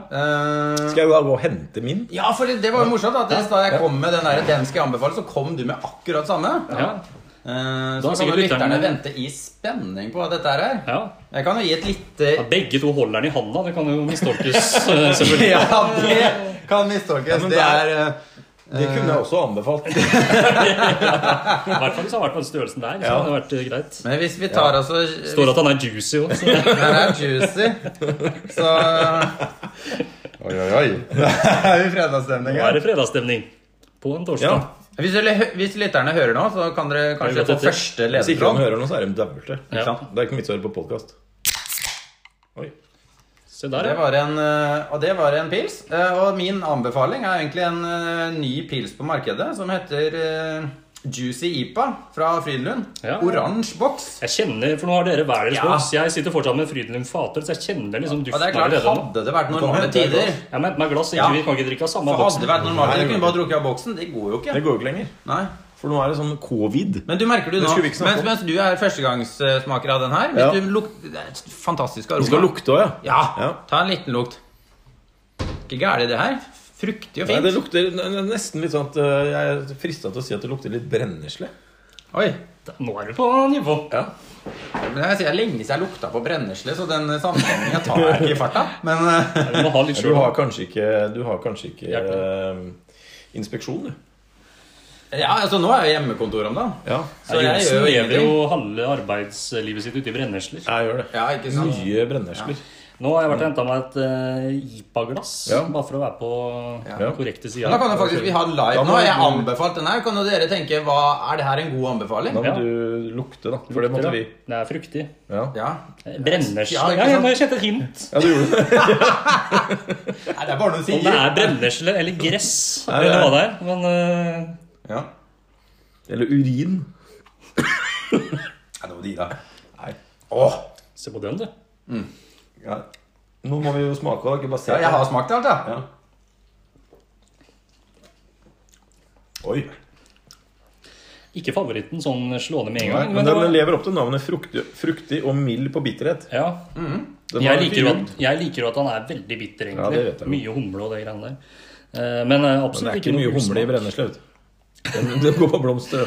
S3: Eh,
S2: Skal jeg da gå og hente min?
S3: ja, for det, det var jo morsomt at da jeg kom med den der 'den skal jeg anbefale', så kom du med akkurat samme.
S1: Ja,
S3: Eh,
S1: Da
S3: så kan
S1: sikkert
S3: jo lytterne
S1: lytterne-
S3: vente i spenning på hva dette her er.
S1: ja.
S3: Jeg kan jo gi et lite
S1: Ja, begge to holder den i handa, det kan jo mistolkes. eh, selvfølgelig.
S3: Ja, det kan mistolkes.
S2: men
S3: det er
S2: der-
S3: eh,
S2: Det kunne jeg også anbefalt.
S1: I hvert fall hvis han har vært på den størrelsen der. Så
S2: Ja.
S1: hadde det vært eh, greit.
S3: Men hvis vi tar altså
S1: Står at han er juicy òg, så
S3: Den er juicy. Så Oi, oi, oi. Det er jo fredagsstemning
S1: nå
S3: her.
S1: er det fredagsstemning. På en
S2: Ja.
S1: torsdag.
S3: Hvis, dere hø- hvis lytterne hører nå, så kan
S1: Det
S3: dere kanskje
S1: er godt
S3: få
S1: etter.
S3: første
S2: Hvis ikke han
S3: ledertråd.
S2: hører noe, så er de daulte.
S1: Ja.
S2: Ikke sant? Det er ikke noe vits å høre på podkast. Oi.
S1: Se der,
S3: Det
S1: ja.
S3: var en, eh, og det var en pils. Eh, Og min anbefaling er egentlig en eh, ny pils på markedet som heter eh, Juicy Ipa fra Frydenlund.
S1: Ja.
S3: Oransje boks.
S1: Jeg kjenner, for nå har dere hver deres
S3: Ja.
S1: boks. Jeg sitter fortsatt med Frydenlund fater, så jeg kjenner liksom
S3: Og
S1: duften
S3: det er klart,
S1: allerede nå.
S3: hadde det vært
S2: Kom
S3: normale
S2: igjen, det er
S3: tider
S2: godt.
S1: Ja, men med glass, ikke,
S3: Ja.
S1: Vi kan ikke drikke av samme
S3: for Hadde det
S1: boksen.
S3: vært normale tider, kunne vi bare drukket av boksen. Det går jo
S2: Det
S3: ikke.
S2: går jo ikke lenger.
S3: Nei.
S2: For nå er det sånn covid.
S3: Men du merker du
S2: Det
S3: nå,
S2: skulle vi ikke snakke om.
S3: mens, mens du er førstegangssmaker av den her
S2: Ja.
S3: hvis du luk, Det er et fantastisk aroma.
S2: Det skal lukte òg, ja.
S3: Ja,
S2: Ja.
S3: ta en liten lukt. Ikke gærent, det her. Fruktig og
S2: Nei,
S3: fint.
S2: det lukter det er nesten litt sånn at øh, jeg er frista til å si at det lukter litt brennesle.
S3: Oi.
S1: Nå er du på nivå.
S2: Ja.
S3: Men jeg sier, det er lenge siden jeg lukta på brennesle, så den sammenhengen tar jeg ikke i farta. Men eh,
S1: Du må ha litt
S2: Du
S1: sjøl.
S2: har kanskje ikke, du har kanskje ikke
S1: Hjertelig.
S2: øh, inspeksjon, du.
S3: ja, altså nå er jo hjemmekontor om dagen.
S2: Ja,
S3: Så jeg
S1: Johnsen
S3: gjør jo
S1: lever jo
S3: ingenting.
S1: halve arbeidslivet sitt ute i brennesler.
S2: jeg gjør det.
S3: Ja, ikke sant?
S2: Mye brennesler.
S1: Nå har jeg vært og henta meg et eh, IPA-glass,
S2: Ja.
S1: bare for å være på den korrekte sida.
S3: Men da kan jo faktisk vi ha den
S2: Da
S3: live
S2: må
S3: nå. Jeg
S2: vi-
S3: anbefalt den her. Kan jo dere tenke hva, Er det her en god anbefaling?
S2: Da må
S1: Ja.
S2: du lukte, da. For det måtte vi.
S1: Det er fruktig.
S2: Ja.
S3: Ja.
S1: Brenners.
S3: Ja,
S1: Ja,
S3: ikke
S1: ja, nå
S3: sant?
S1: har jeg kjent et hint.
S2: ja, du gjorde det.
S3: Nei, det er bare noe du
S1: Om det
S3: sier.
S1: er brennesle eller gress
S2: Nei,
S1: eller
S2: nei.
S1: hva det er. Men eh,
S3: Ja.
S2: Eller urin.
S3: Nei, det var de, da.
S2: Nei.
S3: Åh.
S1: se på den, du.
S2: Ja. Nå må vi jo smake, da. Ikke bare se.
S3: Ja, jeg
S2: på
S3: har
S2: det.
S3: smakt alt, ja.
S2: Ja. Oi.
S1: Ikke favoritten sånn slående med en
S2: Nei,
S1: gang.
S2: men
S1: Men det
S2: den
S1: var,
S2: lever opp til navnet fruktig, fruktig og mild på bitterhet.
S1: ja.
S2: Den
S1: jeg,
S2: var
S1: liker jo
S2: litt
S1: at, jeg liker jo at han er veldig bitter,
S2: Ja,
S1: egentlig.
S2: det vet jeg jo.
S1: mye humle og de greiene der. Eh, Men eh,
S2: Men det
S1: absolutt
S2: er
S1: ikke
S2: ikke mye
S1: noe
S2: humle i
S1: usmak.
S2: brennesle. vet du. Den- Den går på blomster.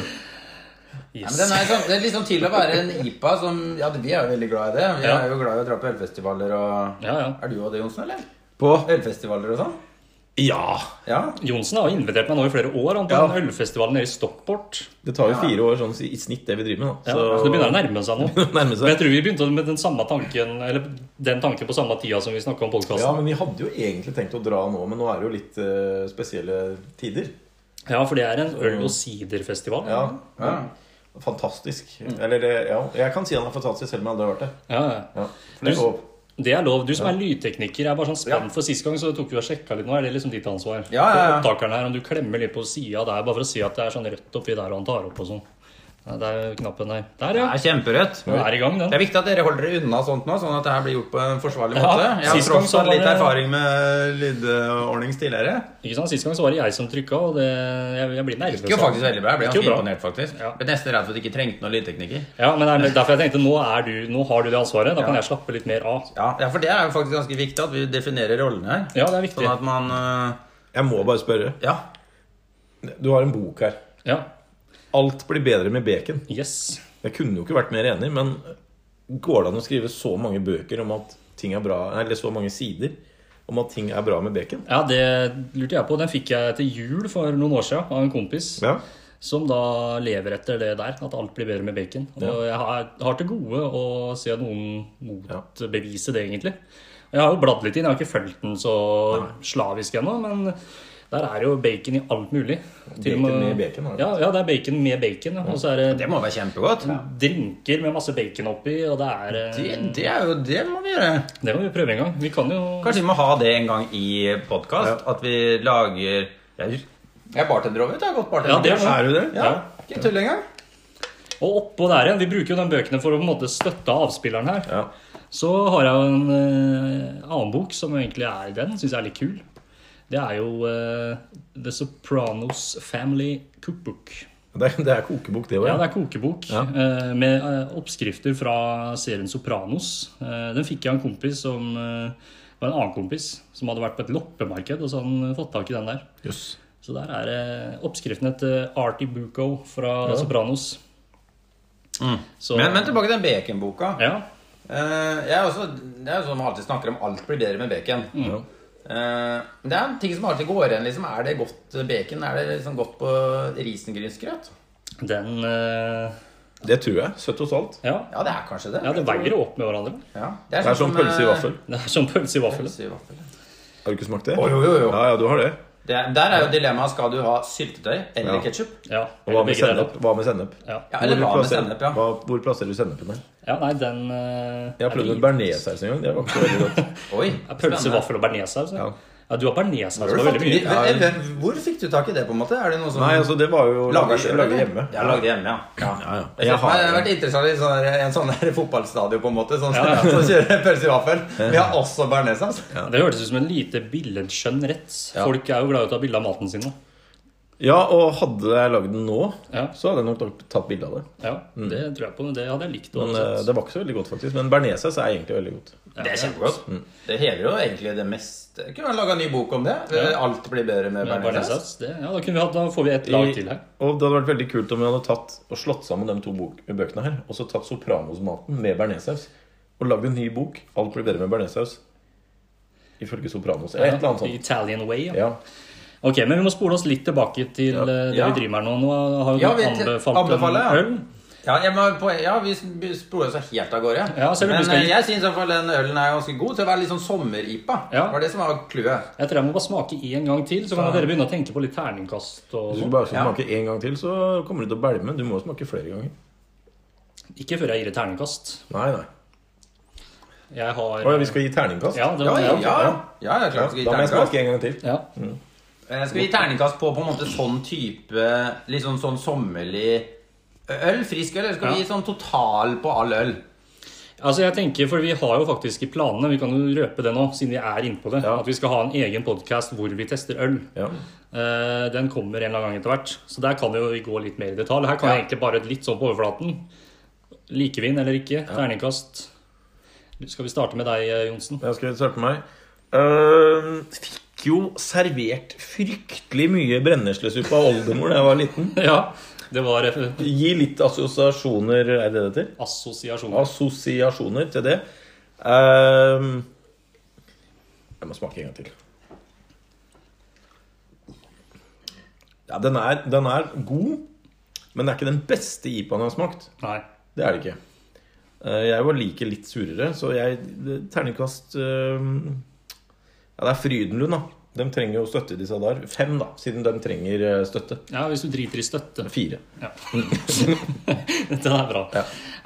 S3: Ja, men den er, sånn, det er liksom til å være en IPA som Ja, vi er jo veldig glad i det. Vi
S1: Ja.
S3: er jo glad i å dra på ølfestivaler og
S1: Ja, ja.
S3: Er du òg det, Johnsen, eller?
S2: På
S3: Ølfestivaler og sånn?
S2: Ja!
S3: Ja.
S1: Johnsen har invitert meg nå i flere år han på
S2: Ja.
S1: den ølfestivalen nede i Stockport.
S2: Det tar jo
S3: Ja.
S2: fire år sånn, i snitt, det vi driver med.
S1: Ja,
S2: Da.
S1: så... Det begynner å nærme seg nå.
S2: nærme
S1: Men jeg
S2: seg.
S1: tror vi begynte med den samme tanken Eller den tanken på samme tida som vi snakka om podkasten.
S2: Ja, men Vi hadde jo egentlig tenkt å dra nå, men nå er det jo litt eh, spesielle tider.
S1: Ja, for det er en øl- og siderfestival. Ja.
S2: Ja,
S3: Mm. ja.
S2: Fantastisk.
S1: Mm.
S2: Eller eh, ja, jeg kan si han er fantastisk, selv om jeg aldri har vært det.
S1: ja.
S2: Ja, for det er
S1: Du-
S2: lov.
S1: Det er lov. Du som er lydtekniker, jeg er bare sånn spent for sist gang, så tok vi og sjekka litt nå. Er det liksom ditt ansvar?
S3: Ja, ja, ja.
S1: For Opptakeren her, om du klemmer litt på sida der, bare for å si at det er sånn rødt oppi der, og han tar opp og sånn. Nei, Det er knappen der. Der,
S3: Det
S1: ja.
S3: er kjemperødt.
S1: Den er i gang,
S3: Det
S1: den.
S3: er viktig at dere holder dere unna sånt nå, sånn at det her blir gjort på en forsvarlig
S1: Ja,
S3: måte. Jeg har
S1: sist gang
S3: tross
S1: så
S3: alt litt
S1: var det-
S3: erfaring med lydordnings tidligere.
S1: Ikke sant? Sist gang så var det jeg som trykka, og det, jeg, jeg blir nervøs.
S3: Gikk jo
S1: av
S3: faktisk
S1: det.
S3: veldig bra. Jeg ble
S1: Gikk
S3: ganske
S1: jo bra.
S3: imponert, faktisk.
S1: Ja.
S3: Ble nesten redd for at du ikke trengte noen lydteknikker.
S1: Ja, men det er derfor jeg tenkte nå, er du, nå har du det ansvaret. Da kan
S3: Ja.
S1: jeg slappe litt mer av.
S3: Ja, ja, for det er jo faktisk ganske viktig at vi definerer rollene her.
S1: Ja, det er viktig.
S3: Sånn at man øh,
S2: Jeg må bare spørre.
S3: Ja.
S2: Du har en bok her.
S1: Ja.
S2: 'Alt blir bedre med bacon'.
S1: Yes.
S2: Jeg kunne jo ikke vært mer enig, men går det an å skrive så mange bøker om at ting er bra Eller så mange sider om at ting er bra med bacon?
S1: Ja, det lurte jeg på. Den fikk jeg til jul for noen år siden av en kompis.
S2: Ja.
S1: som da lever etter det der, at alt blir bedre med bacon. Og jeg har, har til gode å se noen motbevise det, egentlig. Jeg har jo bladd litt inn, jeg har ikke fulgt den så slavisk ennå, men der er jo bacon i alt mulig. Til og
S2: Bacon i bacon, har jeg
S1: ja, ja, det er bacon med bacon. ja. Og så er det
S3: Det må være kjempegodt.
S1: drinker med masse bacon oppi, og det er eh,
S3: Det, det er jo Det må vi gjøre.
S1: Det må vi prøve en gang. Vi kan jo
S3: Kanskje vi må ha det en gang i podkast? At vi lager Jeg hus- jeg er bartender òg, vet du. Jeg har gått bartender.
S1: Ja, det er bra.
S2: Er du det?
S3: Ja, Ikke tull engang.
S1: Og oppå der igjen, vi bruker jo den bøkene for å på en måte støtte avspilleren her.
S2: Ja.
S1: Så har jeg jo en eh, annen bok som egentlig er den, syns jeg er litt kul. Det er jo eh, The Sopranos Family Cookbook.
S2: Det, er, det er kokebok, det òg.
S1: Ja, det er kokebok eh, med eh, oppskrifter fra serien Sopranos. Eh, den fikk jeg av en kompis som eh, var en annen kompis som hadde vært på et loppemarked, og så hadde han fått tak i den der.
S2: Jøss.
S1: Så der er eh, oppskriften etter Artie Bucco fra Sopranos. Så,
S3: Mm. Men, men tilbake til den baconboka.
S1: Ja,
S3: Eh, jeg er også, det er jo sånn man alltid snakker om alt blir bedre med bacon.
S2: Ja.
S3: Eh, det er en ting som alltid går igjen. Liksom. Er det godt bacon? Er det liksom godt på risengrynsgrøt?
S1: den eh,
S2: Det tror jeg. Søtt og salt.
S1: Ja,
S3: Ja, det er kanskje det.
S1: ja det veier jo opp med hverandre.
S3: Ja.
S2: Det er som pølse i
S3: eh,
S2: vaffel.
S1: Det er som pølse i vaffel.
S3: Pølse i vaffel.
S2: Har du ikke smakt det?
S3: Å, jo, jo, jo.
S2: Ja, ja, du har det.
S3: Det, er- der er jo dilemmaet skal du ha syltetøy
S2: Ja.
S3: eller ketchup ketsjup.
S1: Ja,
S2: Og hva med
S1: begge deler.
S2: sennep? Hva med sennep?
S1: Ja.
S3: Ja,
S2: Hvor
S3: eller hva med
S2: plasserer-
S3: sennep, ja.
S2: hva- Hvor plasserer du sennepen? her?
S1: ja, nei, den eh,
S2: Jeg har prøvd
S1: er
S2: en
S1: vid.
S2: bearnéssaus en gang. Det var ikke så veldig godt.
S3: Oi,
S1: Ja, Pølse,
S3: spennende.
S1: vaffel og bearnéssaus. Ja.
S2: Ja.
S1: ja, du har bearnéssaus
S3: Har du
S1: på veldig
S3: fått-
S1: mye.
S3: Hvem- hvem- Hvor fikk du tak i det, på en måte? Er det noe som
S2: Nei, altså, det var jo
S3: Lager
S2: laget
S3: selv,
S2: laget
S3: eller?
S2: hjemme.
S3: Ja, lager hjemme, ja.
S2: Ja, ja.
S3: Jeg,
S2: Jeg
S3: har, det har
S2: har
S3: vært interessant i sånn der- en sånn der fotballstadion, på en måte. Sånn,
S1: Ja, ja.
S3: Som kjører pølse i vaffel. Vi har også altså. bearnéssaus.
S1: Det hørtes ut som en lite billedskjønn rett. Folk er jo glad i å ta bilde av maten sin nå.
S2: Ja, og hadde jeg lagd den nå,
S1: Ja.
S2: så hadde jeg nok tatt- tatt bilde av det.
S1: Ja, det tror jeg på. Det hadde jeg likt. å altså.
S2: Men eh,
S1: sett.
S2: det var ikke så veldig godt, faktisk. Men bearnéssaus er egentlig veldig godt.
S3: Det er kjempegodt.
S1: Mm.
S3: Det hever jo egentlig det meste. Kunne man laga en ny bok om det? Alt blir bedre med
S1: Med altså.
S3: bearnéssaus.
S1: bearnéssaus, det- Ja, da, kunne vi hatt, da får vi et lag til her.
S2: Og det hadde vært veldig kult om vi hadde tatt og slått sammen de to bok, bøkene her, og så tatt Sopranos-maten med bearnéssaus. Og lagd en ny bok. Alt blir bedre med bearnéssaus. Ifølge Sopranos. Eller et eller annet
S1: The
S2: sånt.
S1: Italian way. Ja.
S2: Ja.
S1: Ok, men Vi må spole oss litt tilbake til
S2: Ja.
S1: eh, det
S3: Ja.
S1: vi driver med her nå. Nå har jo
S3: Ja,
S1: du
S3: vi-
S1: anbefalt
S3: anbefaler, ja.
S1: en øl.
S3: Ja, jeg må på, ja, vi spoler oss helt av gårde.
S1: Ja, selv om du
S3: Men
S1: skal-
S3: eh, jeg syns iallfall den ølen er ganske god til å være litt sånn sommer-ipa.
S1: Ja.
S3: Det var det som var clouet.
S1: Jeg tror jeg må bare smake én gang til, så kan dere begynne å tenke på litt terningkast. og
S2: Hvis du
S1: sånn.
S2: bare
S3: Ja.
S2: skal smake én gang til, så kommer du til å bælme. Du må jo smake flere ganger.
S1: Ikke før jeg gir et terningkast.
S2: Nei, nei.
S1: Jeg har
S2: Å ja, vi skal gi terningkast?
S1: Ja, det
S3: Ja,
S1: var
S3: ja,
S1: det.
S3: ja.
S2: ja.
S3: ja, ja
S2: Ja,
S3: klart skal vi
S2: Da må jeg
S3: terningkast.
S2: smake en gang til.
S1: Ja.
S3: Eh, Skal vi gi terningkast på på en måte sånn type Litt sånn, sånn sommerlig øl? Frisk øl? Eller skal vi
S1: Ja.
S3: gi sånn total på all øl?
S1: Altså jeg tenker, for Vi har jo faktisk i planene, vi kan jo røpe det nå, siden vi er inne på det,
S2: Ja.
S1: at vi skal ha en egen podkast hvor vi tester øl.
S2: Ja.
S1: Eh, den kommer en eller annen gang etter hvert, så der kan jo vi gå litt mer i detalj. Her kan jeg egentlig bare litt sånn på overflaten. Likevin eller ikke, terningkast. Skal vi starte med deg, eh, Johnsen?
S2: Jeg skal starte med meg. Øhm, Ehm, fikk jo servert fryktelig mye brenneslesuppe av oldemor da jeg var liten.
S1: Ja, det var eh,
S2: Gi litt assosiasjoner Er det det til?
S1: assosiasjoner.
S2: Assosiasjoner til det. Ehm, jeg må smake en gang til. Ja, den er, den er god, men det er ikke den beste IPA-en jeg har smakt.
S1: Nei.
S2: Det er det ikke. Eh, Jeg var like litt surere, så jeg det- Terningkast eh, Ja, det er Frydenlund, da. De trenger jo støtte, disse der. Fem, da, siden de trenger eh, støtte.
S1: Ja, hvis du driter i støtte.
S2: Fire.
S1: Ja. Den er bra.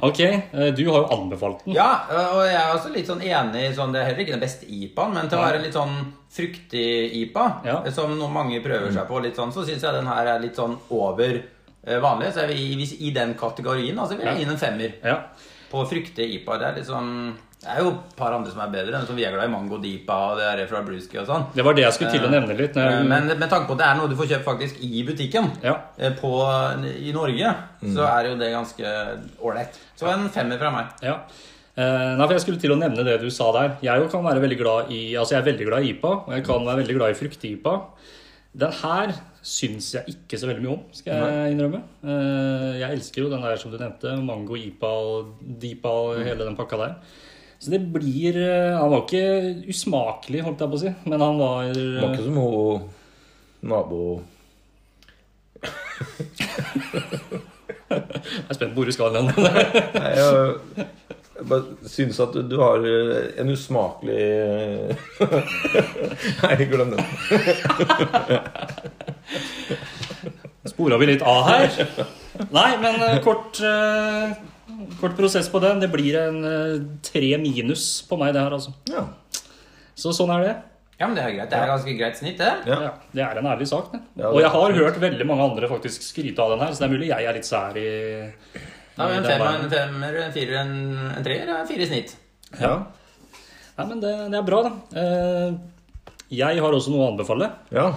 S1: Ok, eh, du har jo anbefalt den.
S3: Ja, og jeg er også litt sånn enig i sånn, Det er heller ikke den beste IPA-en, men til å være en litt sånn fruktig IPA,
S1: Ja.
S3: som noen mange prøver seg på, litt sånn, så syns jeg den her er litt sånn over eh, vanlig. Så jeg vil, gi- hvis, i den kategorien altså, vil
S1: Ja.
S3: jeg gi den en femmer
S1: Ja.
S3: på fruktig IPA. Det er litt sånn det er jo et par andre som er bedre, den som vi er glad i, Mango Dipa og det der fra Brewski og sånn.
S1: Det var det jeg skulle til å nevne litt. når
S3: Eh,
S1: jeg-
S3: Men med tanke på at det er noe du får kjøpt faktisk i butikken
S1: Ja.
S3: eh, på, i Norge, så er jo det ganske ålreit. Så en femmer fra meg.
S1: Ja. Eh, Nei, for Jeg skulle til å nevne det du sa der. Jeg jo kan være veldig glad i altså jeg er veldig glad i IPA, og jeg kan være veldig glad i frukt-IPA. Den her syns jeg ikke så veldig mye om, skal jeg innrømme. Eh, Jeg elsker jo den der som du nevnte, mango-IPA og DIPA
S3: Mm.
S1: og hele den pakka der. Så det blir eh, Han var ikke usmakelig, holdt eh, jeg på å si, men han var
S2: Det var
S1: eh,
S2: ikke som hun nabo...
S1: Jeg er spent på hvor du skal hen.
S2: Nei, jeg, jeg bare syns at du, du har eh, en usmakelig Nei, glem det.
S1: Spora vi litt av her? Nei, men eh, kort, eh, kort prosess på den. Det blir en eh, tre minus på meg, det her, altså.
S2: Ja.
S1: Så sånn er det.
S3: Ja, men det er greit. Det er ganske greit snitt, det.
S2: Ja.
S1: Ja, det er en ærlig sak, det.
S2: Ja, det
S1: og jeg
S2: er
S1: har
S2: absolutt.
S1: hørt veldig mange andre faktisk skryte av den her, så det er mulig jeg er litt sær i
S3: Da har vi en
S1: i den
S3: femmer,
S1: veien.
S3: en femmer, en firer, en, en treer og en fire i snitt.
S2: Ja.
S1: Nei, men det, det er bra, da. Eh, Jeg har også noe å anbefale.
S2: ja.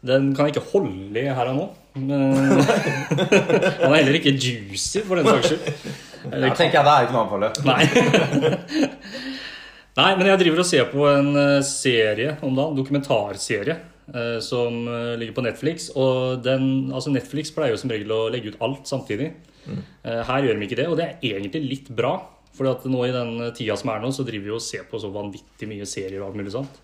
S1: Den kan jeg ikke holde i her og nå. Men den er heller ikke juicy, for den saks skyld.
S3: Da
S1: Eller
S3: tenker jeg det er ikke noe anfallet.
S1: Nei. Nei, men jeg driver og ser på en eh, serie om dagen, dokumentarserie, eh, som eh, ligger på Netflix. Og den, altså Netflix pleier jo som regel å legge ut alt samtidig. Eh, Her gjør de ikke det, og det er egentlig litt bra. For at nå i den tida som er nå, så driver vi og ser på så vanvittig mye serier og alt mulig sånt.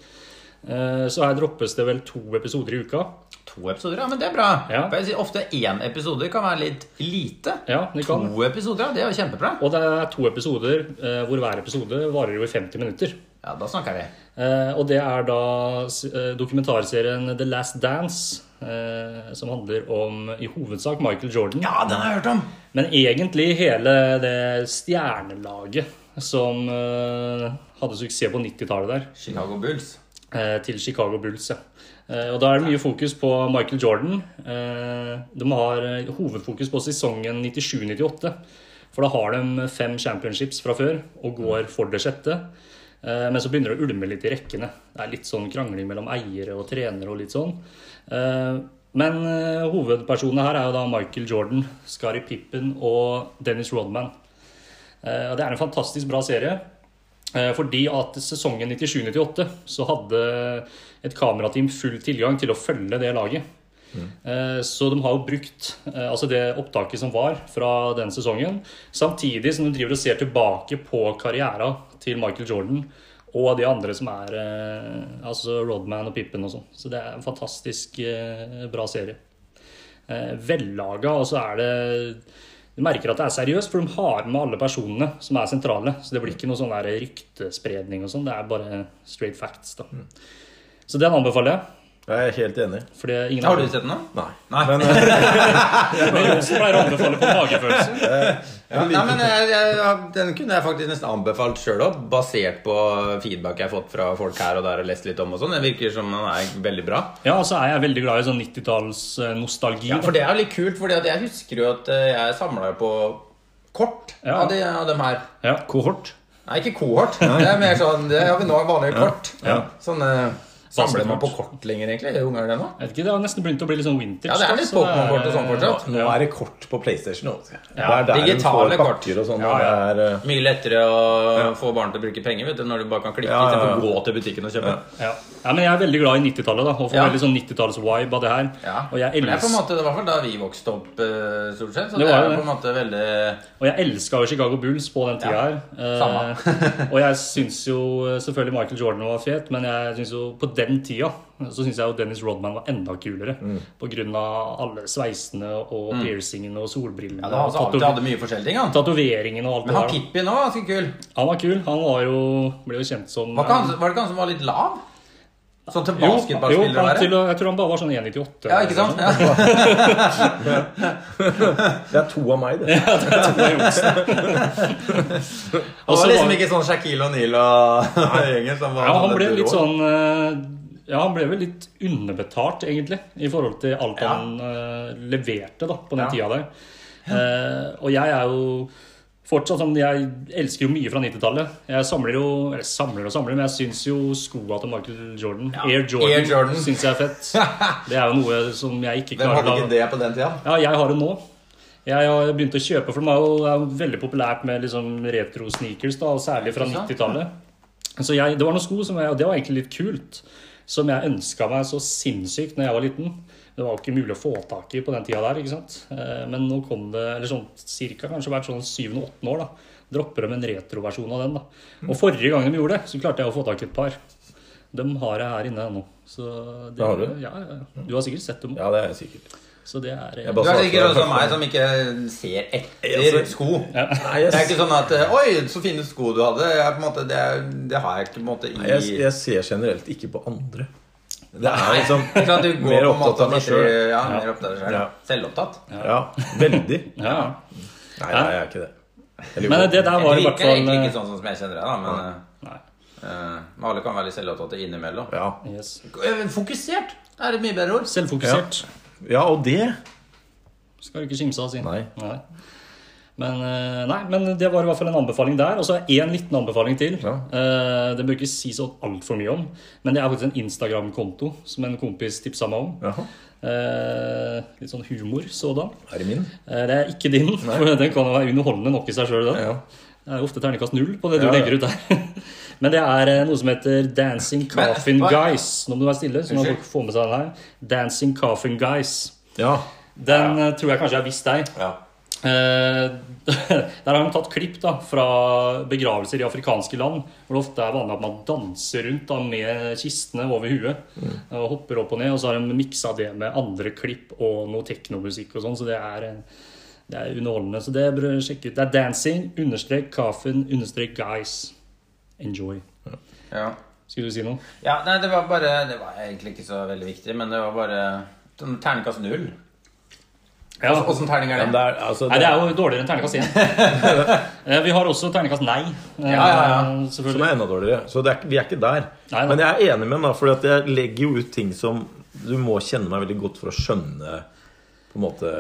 S1: Eh, Så her droppes det vel to episoder i uka.
S3: To episoder, ja, men det er bra.
S1: Ja.
S3: For jeg sier Ofte én episode kan være litt lite.
S1: Ja, det kan.
S3: To episoder, ja, det er jo kjempebra.
S1: Og det er to episoder, eh, hvor hver episode varer jo i 50 minutter.
S3: Ja, da snakker vi.
S1: Eh, og det er da s- eh, dokumentarserien The Last Dance, eh, som handler om i hovedsak Michael Jordan.
S3: Ja, den har jeg hørt om!
S1: Men egentlig hele det stjernelaget som eh, hadde suksess på 90-tallet der,
S3: Chicago Bulls.
S1: eh, til Chicago Bulls. Ja. Eh, og da er det mye fokus på Michael Jordan. Eh, de har eh, hovedfokus på sesongen 97-98. For da har de fem championships fra før og går for det sjette. Eh, Men så begynner det å ulme litt i rekkene. Det er litt sånn krangling mellom eiere og trenere og litt sånn. Eh, Men eh, hovedpersonene her er jo da Michael Jordan, Skari Pippen og Dennis Rodman. Eh, Og det er en fantastisk bra serie. Eh, Fordi at sesongen 97-98 så hadde et kamerateam full tilgang til å følge det laget. Eh, Så de har jo brukt eh, altså det opptaket som var fra den sesongen, samtidig som de driver og ser tilbake på karriera til Michael Jordan og de andre som er eh, altså Rodman og Pippen og sånn. Så det er en fantastisk eh, bra serie. Eh, Vellaga, og så er det Du merker at det er seriøst, for de har med alle personene som er sentrale. Så det blir ikke noe sånn der ryktespredning og sånn. Det er bare straight facts, da.
S3: Mm.
S1: Så den anbefaler jeg.
S2: Jeg er helt enig.
S1: For det ingen
S3: Har du
S1: andre-
S3: sett den nå?
S2: Nei.
S3: Nei.
S2: Men, eh,
S1: Men Johnsen pleier å anbefale på magefølelse.
S3: Ja, nei, men jeg, jeg, Den kunne jeg faktisk nesten anbefalt sjøl òg, basert på feedback jeg har fått fra folk her og der og lest litt om og sånn. Det virker som den er veldig bra.
S1: Ja, og så er jeg veldig glad i sånn 90-tallsnostalgi.
S3: Ja, for det er jo litt kult, for jeg husker jo at eh, jeg samla på kort
S1: Ja.
S3: av, de, av dem her.
S1: Ja. Kohort.
S3: Nei, ikke kohort. Det er mer sånn Det har vi nå vanlige kort.
S1: Ja.
S3: Sånn eh, Samler man på
S1: Basekort.
S3: kort lenger, egentlig? Gjør unger det nå?
S1: Jeg vet ikke, Det har nesten begynt å bli litt sånn vintage.
S3: Ja, det er
S1: da,
S3: litt
S1: så
S3: Pokémon-kort og sånn fortsatt.
S2: nå er det kort på PlayStation òg.
S1: Ja,
S3: digitale kort.
S2: Og sånn,
S1: Ja, ja.
S2: og det er, eh,
S3: Mye lettere å få barn til å bruke penger vet du, når du bare kan klikke
S2: Ja, ja, ja.
S3: istedenfor å gå til butikken og kjøpe.
S1: Ja. ja, men jeg er veldig glad i 90-tallet, da. Og får
S3: Ja.
S1: veldig sånn 90-talls-vibe av det her.
S3: Ja.
S1: Og jeg
S3: Men det er på en
S1: elsker
S3: måte, det var vel da vi vokste opp, eh, stort sett. Så
S1: Det
S3: det,
S1: var
S3: er
S1: jo
S3: jo
S1: det.
S3: på en måte veldig
S1: Og jeg elska jo Chicago Bulls på den tida
S3: Ja,
S1: her. Eh, og jeg syns jo eh, selvfølgelig Michael Jordan var fet, men jeg synes jo på den tida så syns jeg jo Dennis Rodman var enda kulere. På grunn av alle sveisene og piercingene og solbrillene.
S3: Mm. Ja, da
S1: og
S3: hadde altså, alltid
S1: tato-
S3: hadde mye forskjellige ting, han.
S1: Tatoveringene og alt
S3: Men han
S1: det der.
S3: Pippi nå var ganske kul.
S1: da. Han var kul. Han var jo, ble jo kjent som
S3: Var, ikke han, var det ikke han som var litt lav? Sånn til
S1: Jo, jo
S3: basketballspiller å
S1: han til,
S3: være?
S1: jeg tror han bare var sånn 1,98.
S3: Ja, ikke sant? Ja.
S2: det er to av meg, det.
S3: Han
S1: Og så
S3: var liksom
S1: var-
S3: ikke sånn Shaquille O'Neill og gjengen som var
S1: Ja, han ble
S3: dette
S1: litt
S3: rå.
S1: sånn eh, Ja, han ble vel litt underbetalt, egentlig, i forhold til alt
S3: Ja.
S1: han eh, leverte da, på den
S3: Ja.
S1: tida der. Eh, og jeg er jo fortsatt sånn Jeg elsker jo mye fra 90-tallet. Jeg samler jo Eller samler og samler, men jeg syns jo skoa til Michael Jordan, Air Jordan,
S3: Air Jordan.
S1: syns jeg er fett. Det er jo noe som jeg ikke
S3: Hvem
S1: klarer
S3: hadde
S1: å la-
S3: ikke det på den tida?
S1: ja, jeg har det nå. Jeg har begynt å kjøpe, for de er jo, det er jo veldig populært med liksom retro-sneakers, da, og særlig fra
S3: Ikke sant?
S1: 90-tallet. Så jeg, Det var noen sko som jeg, og det var egentlig litt kult, som jeg ønska meg så sinnssykt når jeg var liten. Det var jo ikke mulig å få tak i på den tida der. ikke sant? Eh, Men nå kom det eller sånn cirka, kanskje hvert sånn syvende åttende år. da, Dropper de en retroversjon av den. da.
S3: Mm.
S1: Og forrige gang de gjorde det, så klarte jeg å få tak i et par. Dem har jeg her inne ennå. Så det-
S2: Det har du?
S1: Ja, ja, ja. Du har sikkert sett dem òg.
S2: Ja, det er sikkert.
S1: Så det er eh,
S2: Jeg
S3: Du
S2: bare
S3: er
S2: svarte
S3: sikkert
S2: deg
S3: også som
S2: først.
S3: meg, som ikke ser etter
S2: Altså,
S3: sko.
S2: Nei,
S3: Det er
S2: jeg,
S3: ikke sånn at eh, Oi, så fine sko du hadde. Jeg, er på en måte, det, er- det har jeg ikke på en måte i
S2: nei, jeg, jeg ser generelt ikke på andre. Det er
S3: Nei,
S2: liksom
S3: ikke sant, du går
S2: mer
S3: på en
S2: opptatt
S3: måte
S2: av meg
S3: litt-
S2: sjøl.
S3: Ja, mer opptatt av deg selv.
S2: Ja.
S3: Selvopptatt.
S2: Ja, veldig.
S1: Ja, ja.
S2: Nei, nei, jeg er ikke det. Eller jo.
S1: Men det der
S3: Jeg
S1: var i hvert
S3: liker
S1: fall
S3: egentlig ikke sånn som jeg kjenner deg, da, men
S1: Nei.
S3: eh, men alle kan være litt selvopptatte innimellom.
S2: Ja.
S1: Yes.
S3: Eh, Fokusert er et mye bedre ord.
S1: Selvfokusert.
S2: ja, og det
S1: Skal du ikke kimse av, si.
S2: Nei.
S1: Men, eh, nei, men det var i hvert fall en anbefaling der. Og så er én liten anbefaling til.
S2: Ja.
S1: Eh, Det bør ikke si så altfor mye om, men det er faktisk en Instagram-konto som en kompis tipsa meg om.
S2: Jaha.
S1: Eh, Litt sånn humor sådan.
S2: Er det min?
S1: Eh, Det er ikke din, for den kan jo være underholdende nok i seg sjøl.
S2: Ja.
S1: Det er jo ofte terningkast null på det du
S2: Ja, ja.
S1: legger ut der. Men det er eh, noe som heter Dancing Coffin
S3: hva-
S1: Guys. Nå må du være stille, så må
S3: Unnskyld.
S1: folk få med seg den her. Dancing Coffin Guys.
S2: Ja.
S1: Den eh, tror jeg kanskje jeg har visst deg.
S3: Ja.
S1: Eh, Der har de tatt klipp da, fra begravelser i afrikanske land, hvor det ofte er vanlig at man danser rundt da, med kistene over huet.
S3: Mm.
S1: Og hopper opp og ned, og så har de miksa det med andre klipp og noe teknomusikk og sånn, så det er eh, det er underholdende. Så det bør du sjekke ut. Det er dancing, understrek coffin, understrek guys. Enjoy.
S3: Ja.
S1: Skulle du si noe?
S3: ja, nei, det var bare Det var egentlig ikke så veldig viktig, men det var bare sånn terningkast null.
S1: Ja.
S3: Åssen terning er
S2: Men
S3: det?
S2: det er, altså,
S1: Nei, det er jo dårligere enn terningkast 1. Vi har også terningkast nei. eh,
S3: Ja, ja,
S1: Selvfølgelig.
S2: Som er enda dårligere. Så det er, ikke- vi er ikke der.
S1: Nei, nei.
S2: Men jeg er enig med henne, for jeg legger jo ut ting som Du må kjenne meg veldig godt for å skjønne på en måte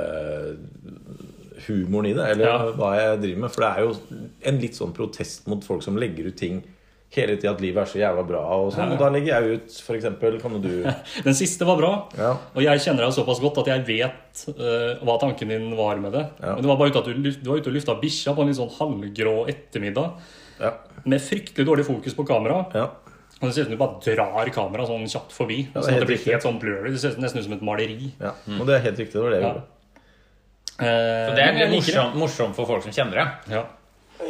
S2: humoren i det, eller
S1: Ja.
S2: hva jeg driver med. For det er jo en litt sånn protest mot folk som legger ut ting hele tida at livet er så jævla bra og sånn. Og da legger jeg ut f.eks. Kan jo du
S1: Den siste var bra.
S2: Ja.
S1: Og jeg kjenner deg såpass godt at jeg vet eh, hva tanken din var med det.
S2: Ja.
S1: Men det var bare ute at du, luft- du var ute og lufta bikkja på en litt sånn halvgrå ettermiddag.
S2: Ja.
S1: Med fryktelig dårlig fokus på kamera.
S2: ja.
S1: Og det ser ut som du bare drar kameraet sånn kjapt forbi.
S2: Ja, det er
S1: sånn at det
S2: helt
S1: blir
S2: riktig.
S1: helt sånn blurry. Det ser ut- nesten ut som et maleri.
S2: ja. Og det er helt riktig. Det var det jeg
S1: Ja.
S2: gjorde.
S1: Eh,
S4: Så det er
S1: men jeg
S4: litt
S1: liker det.
S4: morsomt morsom for folk som kjenner deg.
S1: Ja.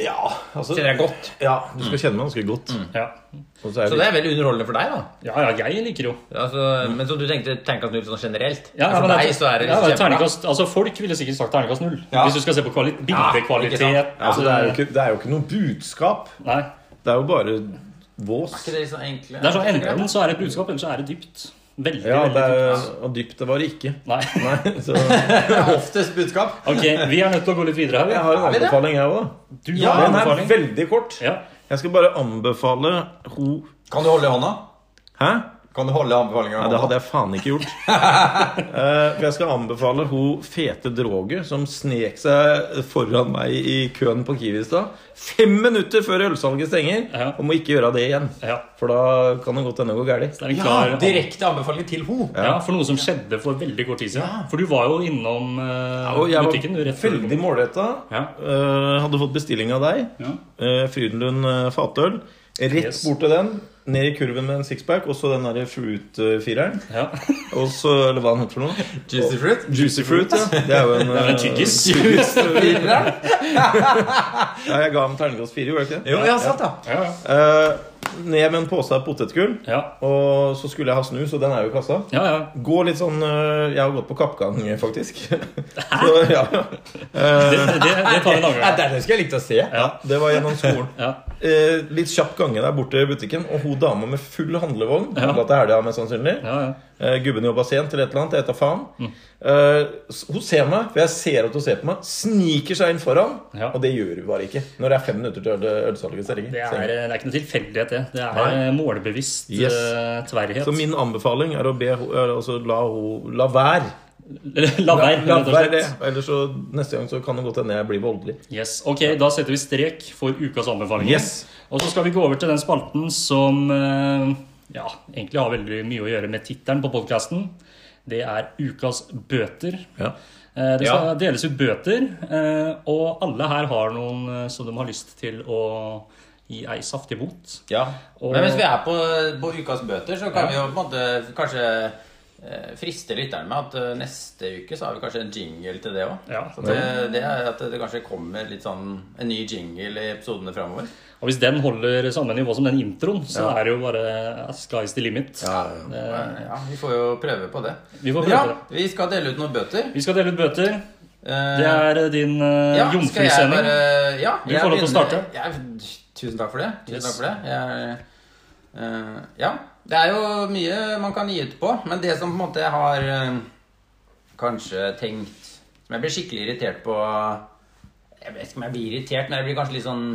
S2: Ja, altså,
S4: Kjenner deg godt.
S2: ja, du skal kjenne meg ganske godt.
S1: Ja.
S2: Og så er
S4: Så
S2: jeg
S4: det er veldig underholdende for deg, da.
S1: ja, ja, jeg liker jo.
S4: Altså, Men som du tenkte terningkast null sånn generelt.
S1: Ja,
S4: Men
S3: Altså,
S4: for
S1: men
S4: deg
S1: det-
S4: så er det
S1: ja,
S4: liksom
S1: men
S4: kjempebra.
S1: terningkast- altså Folk ville sikkert sagt terningkast null.
S3: Ja.
S1: Hvis du skal se på kvali- bildekvalitet.
S4: Ja, ikke sant.
S2: altså, det, er jo ikke, det er jo ikke noe budskap.
S1: Nei.
S2: Det er jo bare vås.
S3: Ikke det liksom enkle
S1: Det er sånn, Enten så er det et budskap, eller så er det dypt. Veldig,
S2: Ja,
S1: veldig
S2: det
S1: dypt.
S2: er, og dypt det var det ikke.
S1: Nei.
S2: Nei, så
S3: Oftest budskap.
S1: Ok, vi er nødt til å gå litt videre
S2: Jeg
S1: her.
S2: har en
S3: Er vi det?
S2: anbefaling, jeg òg.
S1: Du
S3: Ja,
S1: har en
S2: Den er
S1: anbefaling.
S2: veldig kort.
S1: Ja.
S2: Jeg skal bare anbefale ho...
S3: Kan du holde i hånda?
S2: Hæ?
S3: Kan du holde anbefalingen?
S2: Nei, det hadde jeg faen ikke gjort. Eh, For jeg skal anbefale ho fete droge som snek seg foran meg i køen på Kiwi i stad. Fem minutter før ølsalget stenger,
S1: Ja.
S2: og må ikke gjøre det igjen.
S1: Ja.
S2: For da kan det godt hende gå galt.
S1: Så det er en klar
S3: Ja, direkte anbefaling til ho.
S1: Ja, for noe som skjedde for veldig kort tid siden. For du var jo innom eh,
S2: Og jeg
S1: butikken du,
S2: var
S1: rett før du kom.
S2: veldig målretta.
S1: Ja.
S2: Eh, hadde fått bestilling av deg.
S1: Ja.
S2: Eh, Frydenlund eh, fatøl. Rett
S1: Yes.
S2: bort til den, ned i kurven med en sixpack, og så den derre fruit-fireren.
S1: Ja.
S2: Og så Eller hva den heter for noe?
S3: Juicy fruit.
S2: Juicy fruit, ja. Det er jo en,
S1: Det er vel en
S2: eh,
S1: tyggis.
S3: Fireren?
S2: Ja, jeg ga ham terningkast fire, gjorde jeg ikke det?
S3: Jo, ja, sant, da.
S1: Ja, ja.
S2: Eh, ned med en pose av potetgull.
S1: ja.
S2: Og så skulle jeg ha snus, og den er jo i kassa.
S1: ja, ja.
S2: Gå litt sånn eh, Jeg har gått på kappgang, faktisk. Så, ja.
S1: Det, det, det tar vi en annen
S3: Ja,
S1: gang.
S3: det skulle jeg likt å se.
S2: ja, det var gjennom skolen.
S1: Ja.
S2: eh, litt kjapp gange der borte i butikken, og hun dama med full handlevogn
S1: Ja.
S2: handla til helga, mest sannsynlig.
S1: Ja, ja.
S2: Eh, gubben jobba sent eller et eller annet. Jeg tar faen.
S1: Mm.
S2: Eh, s- hun ser meg, for jeg ser at hun ser på meg, sniker seg inn foran.
S1: Ja.
S2: Og det gjør hun bare ikke når det er fem minutter til øl- ølsalget stenger.
S1: Det, er,
S2: stenger.
S1: det er ikke noe tilfeldighet, det. Det er
S2: Nei.
S1: eh, målbevisst
S2: Yes.
S1: eh, tverrhet.
S2: Så min anbefaling er å be ho- er altså la ho, la være.
S1: La være,
S2: La
S1: rett og
S2: være det.
S1: slett.
S2: Ellers så neste gang så kan det godt hende jeg blir voldelig.
S1: Yes. Ok, da setter vi strek for ukas anbefalinger.
S2: Yes.
S1: Og så skal vi gå over til den spalten som eh, ja, egentlig har veldig mye å gjøre med tittelen på podkasten. Det er ukas bøter.
S2: Ja.
S1: Eh, Det skal deles ut bøter, eh, og alle her har noen eh, som de har lyst til å gi ei saftig bot.
S3: Ja.
S1: Og-
S3: Men hvis vi er på, på ukas bøter, så kan vi jo på en måte kanskje eh, friste lytteren med at eh, neste uke så har vi kanskje en jingle til det òg.
S1: Ja.
S3: Det, det er at det kanskje kommer litt sånn en ny jingle i episodene framover.
S1: Og hvis den holder samme nivå som den introen, så er det jo bare eh, sky's the limit.
S3: Eh, Ja, vi får jo prøve på det.
S1: Vi får
S3: Men ja,
S1: prøve på
S3: Vi skal dele ut noen bøter.
S1: Vi skal dele ut bøter.
S3: Eh,
S1: Det er eh, din eh,
S3: ja, skal jeg
S1: jomfrusending.
S3: bare- Ja,
S1: Du får lov til å
S3: begynner-
S1: starte.
S3: Jeg, tusen takk for det. Tusen
S1: Yes.
S3: takk for det. Jeg, eh, ja. Det er jo mye man kan gi ut på, men det som på en måte jeg har eh, kanskje tenkt Som jeg blir skikkelig irritert på Jeg vet ikke om jeg blir irritert, men jeg blir kanskje litt sånn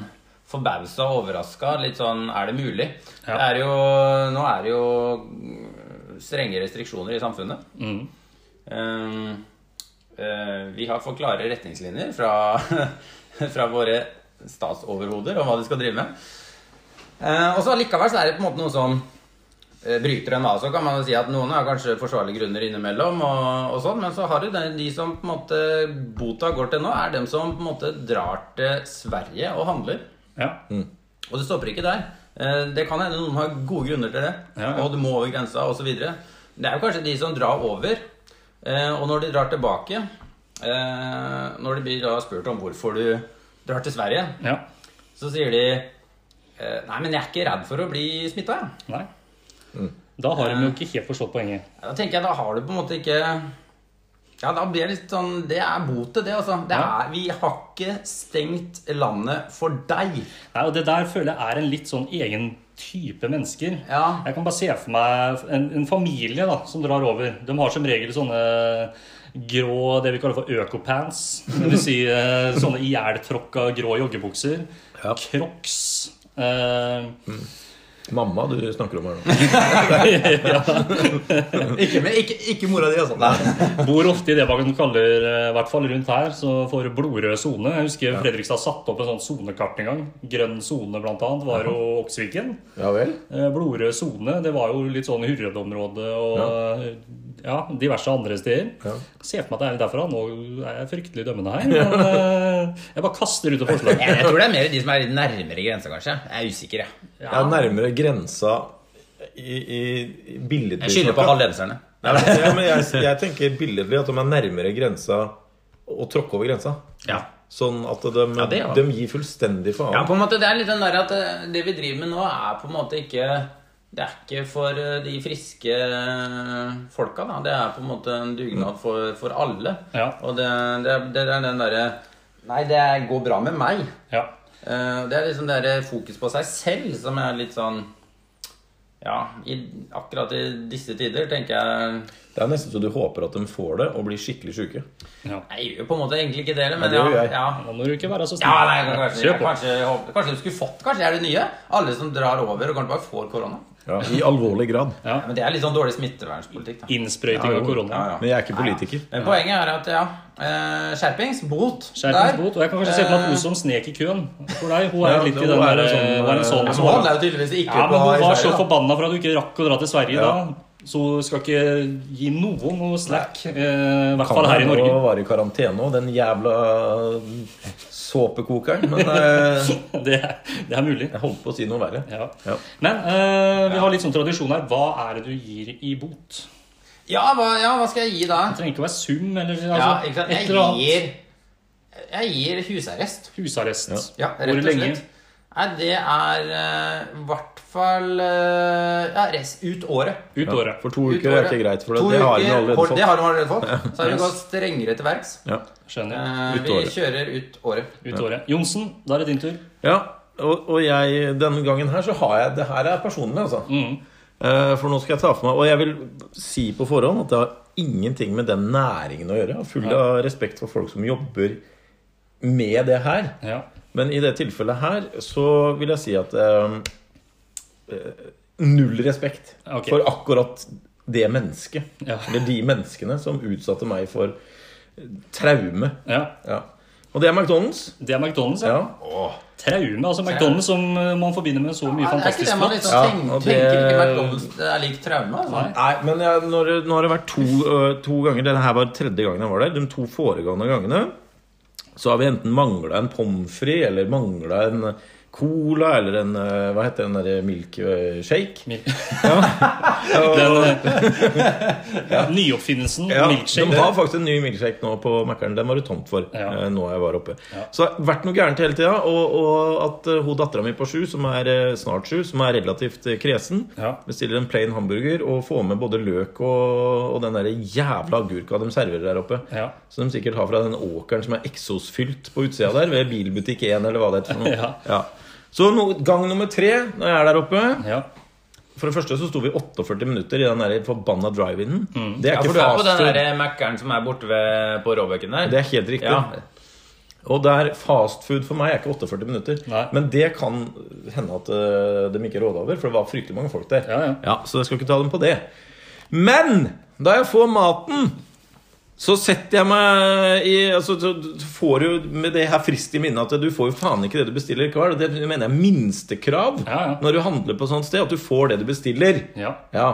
S3: forbausa og overraska. Litt sånn Er det mulig?
S1: Ja.
S3: Det er jo, nå er det jo eh, strenge restriksjoner i samfunnet.
S1: Mm.
S3: Ehm, eh, vi har fått klare retningslinjer fra, fra våre statsoverhoder om hva de skal drive med. Eh, og så allikevel så er det på en måte noe som eh, bryter en av. Så kan man jo si at noen har kanskje forsvarlige grunner innimellom, og, og sånn, men så har du den, de som på en måte bota går til nå, er dem som på en måte drar til Sverige og handler.
S1: Ja.
S2: Mm.
S3: Og det stopper ikke der. Eh, Det kan hende noen har gode grunner til det.
S1: Ja, ja.
S3: Og du må over grensa osv. Det er jo kanskje de som drar over. eh, Og når de drar tilbake eh, Når de blir da spurt om hvorfor du drar til Sverige,
S1: ja.
S3: så sier de eh, Nei, men jeg er ikke redd for å bli smitta, jeg.
S1: Nei.
S2: Mm.
S1: Da har
S3: Eh.
S1: de jo ikke helt forstått poenget.
S3: Ja, Da tenker jeg, da har du på en måte ikke Ja, da blir det litt sånn Det er botet, det, altså. Det
S1: Ja.
S3: er, vi har ikke stengt landet for deg.
S1: Nei, og Det der føler jeg er en litt sånn egen type mennesker.
S3: Ja.
S1: Jeg kan bare se for meg en, en familie da, som drar over. De har som regel sånne grå det vi kaller for økopants. Det vil si eh, sånne ihjeltråkka grå joggebukser.
S2: Ja.
S1: Crocs. Eh,
S2: Mamma du snakker om her nå.
S3: Ikke, men ikke, ikke mora di, altså.
S1: bor ofte i det man kaller, eh, i hvert fall rundt her, så for blodrød sone. Jeg husker Fredrikstad satte opp en sånn sonekart en gang. Grønn sone, blant annet, var jo Oksviken.
S2: Ja vel?
S1: Eh, Blodrød sone, det var jo litt sånn Hurred-området og ja. diverse andre steder.
S2: Ja.
S1: Se for meg at det er litt derfra. Nå er jeg fryktelig dømmende her. Men eh, jeg bare kaster ut et forslag.
S4: Jeg, jeg tror det er mer de som er litt nærmere grensa, kanskje. Jeg er usikker, jeg.
S2: Jeg er nærmere grensa i, i i billedlig
S4: Jeg skylder på
S2: snakka.
S4: hallenserne.
S2: Nei, men- ja, men jeg, jeg tenker billedlig at de er nærmere grensa å tråkke over grensa.
S4: Ja.
S2: Sånn at de,
S4: Ja, det, ja.
S2: de gir fullstendig faen.
S3: Ja, på en måte, det er litt den der at eh, det vi driver med nå, er på en måte ikke Det er ikke for eh, de friske eh, folka, da. Det er på en måte en dugnad for, for alle.
S1: Ja.
S3: Og det, det, er- det er den derre Nei, det går bra med meg.
S1: Ja.
S3: Eh, Det er liksom det der fokus på seg selv som er litt sånn Ja, i, akkurat i disse tider tenker jeg
S2: Det er nesten så du håper at de får det og blir skikkelig sjuke.
S1: ja.
S3: Jeg gjør jo på en måte egentlig ikke det heller, men
S2: det gjør
S3: ja.
S2: jeg.
S3: ja.
S1: Nå må du ikke være så snill.
S3: Ja, nei, kanskje,
S1: Kjør på.
S3: kanskje, kanskje du skulle fått Kanskje det er det nye? Alle som drar over og kanskje bare får korona.
S2: Ja, I alvorlig grad.
S3: Ja, men Det er litt sånn dårlig smittevernpolitikk. da
S1: Innsprøyting av korona.
S3: ja,
S2: Men jeg er ikke politiker.
S3: Men poenget er at ja, eh, skjerpings, bot
S1: Skjerpings bot. Og jeg kan kanskje se for meg
S3: Eh,
S1: at hun som snek i køen for deg, hun er
S2: Ja,
S1: litt i
S2: hun
S1: den
S2: er
S1: der
S2: sånn,
S1: Hun er en sånn
S2: eh,
S1: som
S3: så han
S1: var
S3: er jo tydeligvis ikke
S1: Ja, men
S3: på
S1: hun
S3: i
S1: var så
S3: Sverige, da.
S1: forbanna for at du ikke rakk å dra til Sverige
S2: Ja.
S1: da. Så hun skal ikke gi noen noe slack. eh, I hvert
S2: Kan
S1: fall her i
S2: jeg nå
S1: Norge.
S2: være i karantene òg, den jævla eh, såpekokeren. Men eh,
S1: Det, er- det er mulig.
S2: jeg holdt på å si noe verre.
S1: Ja.
S2: Ja.
S1: Men eh, vi har litt sånn tradisjon her. Hva er det du gir i bot?
S3: ja, hva, ja, hva skal jeg gi da?
S1: Det trenger ikke å være sum eller altså,
S3: Ja, ikke sant?
S1: et eller
S3: Jeg
S1: annet.
S3: gir, jeg gir husarrest.
S1: Husarrest.
S3: Ja, rett
S1: Hvor
S3: og
S1: lenge?
S3: slett. Nei, det er eh, i hvert fall eh, Ja, rest ut året.
S1: Ut året.
S2: For to
S3: Ut
S2: uker er
S3: året.
S2: ikke greit, for det,
S3: To
S2: det har hun
S3: uker,
S2: allerede
S3: hold- Det
S2: fått.
S3: har hun allerede fått. Så har hun
S1: Yes.
S3: gått strengere til verks.
S2: Ja.
S1: Skjønner.
S3: Eh,
S2: Ut
S3: vi
S2: året.
S3: kjører ut året.
S1: Ut året. Johnsen, da er det din tur.
S2: ja. Og, og jeg, denne gangen her så har jeg Det her er personlig, altså.
S1: Mm.
S2: Eh, For nå skal jeg ta for meg Og jeg vil si på forhånd at det har ingenting med den næringen å gjøre. Jeg har full av respekt for folk som jobber med det her.
S1: Ja.
S2: Men i det tilfellet her så vil jeg si at eh, eh, Null respekt
S1: Ok.
S2: for akkurat det mennesket.
S1: Ja.
S2: Eller de menneskene som utsatte meg for eh, traume.
S1: ja.
S2: Ja. Og det er McDonald's.
S1: Det er McDonald's. Ja.
S2: Ja.
S1: Traume. Altså McDonald's som eh, man forbinder med så mye
S3: Ja, det er ikke
S1: fantastisk
S3: det man
S1: mat.
S3: liksom
S2: Ja,
S3: tenker,
S2: og det-
S3: tenker ikke McDonald's det er lik traume. Altså.
S1: Nei.
S2: Nei, men jeg, nå har det- nå har det vært to, øh, to ganger. Denne her var tredje gangen jeg var der. De to foregående gangene så har vi enten mangla en pommes frites eller mangla en cola eller en øh, Hva heter den derre milk øh, shake?
S1: Mil-
S2: Ja. Og-
S1: Den, eh, Nyoppfinnelsen
S2: Ja,
S1: milkshake.
S2: De har faktisk en ny milkshake nå på Mækkern. Den var det tomt for.
S1: Ja.
S2: eh, Nå jeg var oppe Så det har vært noe gærent hele tida. Og, og at eh, hun dattera mi på sju, som er eh, snart sju, som er relativt eh, kresen,
S1: Ja.
S2: bestiller en plain hamburger og får med både løk og, og den der jævla agurka de serverer der oppe.
S1: Ja.
S2: Som de sikkert har fra den åkeren som er eksosfylt på utsida der, ved Bilbutikk 1 eller hva det heter. for noe.
S1: Ja.
S2: Ja. Så no, gang nummer tre når jeg er der oppe
S1: Ja.
S2: For det første så sto vi 48 minutter i den der forbanna drive-in-en. Det er
S4: Mm. Ja,
S2: ikke
S4: for du er på
S2: fast
S4: den
S2: food.
S4: der Mac-eren som er borte ved, på Råbøken der?
S2: Det er helt riktig.
S4: Ja.
S2: Og der fast food for meg er ikke 48 minutter.
S1: Nei.
S2: Men det kan hende at eh, de ikke råder over, for det var fryktelig mange folk der.
S1: Ja, ja.
S2: så jeg skal ikke ta dem på det. Men da jeg får maten, så setter jeg meg i altså, så du får jo med det her frist i minnet at du får jo faen ikke det du bestiller hver. Det mener jeg er minstekrav
S1: Ja, ja.
S2: når du handler på sånt sted, at du får det du bestiller.
S1: Ja.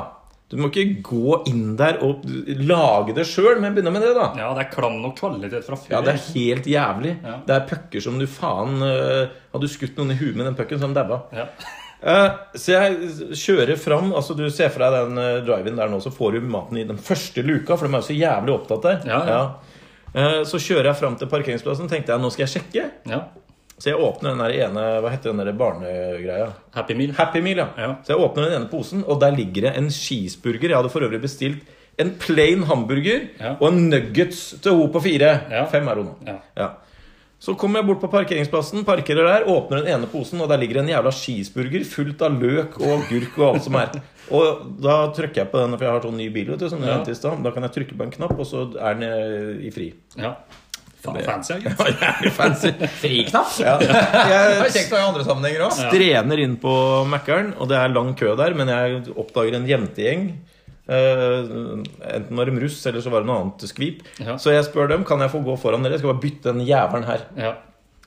S2: Du må ikke gå inn der og lage det sjøl, men begynne med det, da.
S1: ja, det er klam nok kvalitet fra før.
S2: Ja, det er helt jævlig.
S1: Ja.
S2: Det er pucker som du faen øh, Hadde du skutt noen i huet med den pucken, så hadde de daua.
S1: Ja.
S2: Eh, så jeg kjører fram. Altså Du ser for deg den uh, drive-in der nå, så får du maten i den første luka, for de er jo så jævlig opptatt der.
S1: Ja, ja.
S2: Eh, så kjører jeg fram til parkeringsplassen, tenkte jeg nå skal jeg sjekke.
S1: Ja.
S2: Så jeg åpner den der ene Hva heter den der barnegreia?
S1: Happy meal.
S2: Happy Meal, ja.
S1: Ja.
S2: Så jeg åpner den ene posen, og der ligger det en cheeseburger. Jeg hadde for øvrig bestilt en plain hamburger
S1: Ja.
S2: og en nuggets til hun på fire.
S1: Ja.
S2: Fem er hun nå.
S1: Ja.
S2: Ja. Så kommer jeg bort på parkeringsplassen, parkerer der, åpner den ene posen, og der ligger en jævla cheeseburger fullt av løk og agurk og alt som er. Og da trykker jeg på den, for jeg har sånn ny bil, vet du, som jeg
S1: Ja.
S2: nevnte i stad. Da kan jeg trykke på en knapp, og så er den eh, i fri.
S1: Ja. Faen, fancy, jeg, gitt.
S2: Fancy.
S4: Friknapp?
S2: Ja.
S4: Det
S2: Jeg
S4: er kjekt å ha i andre sammenhenger òg.
S2: strener inn på Mækkern, og det er lang kø der, men jeg oppdager en jentegjeng. Eh, enten var de russ, eller så var det noe annet skvip.
S1: Ja.
S2: Så jeg spør dem kan jeg få gå foran dere. Jeg skal bare bytte den jævelen her.
S1: Ja.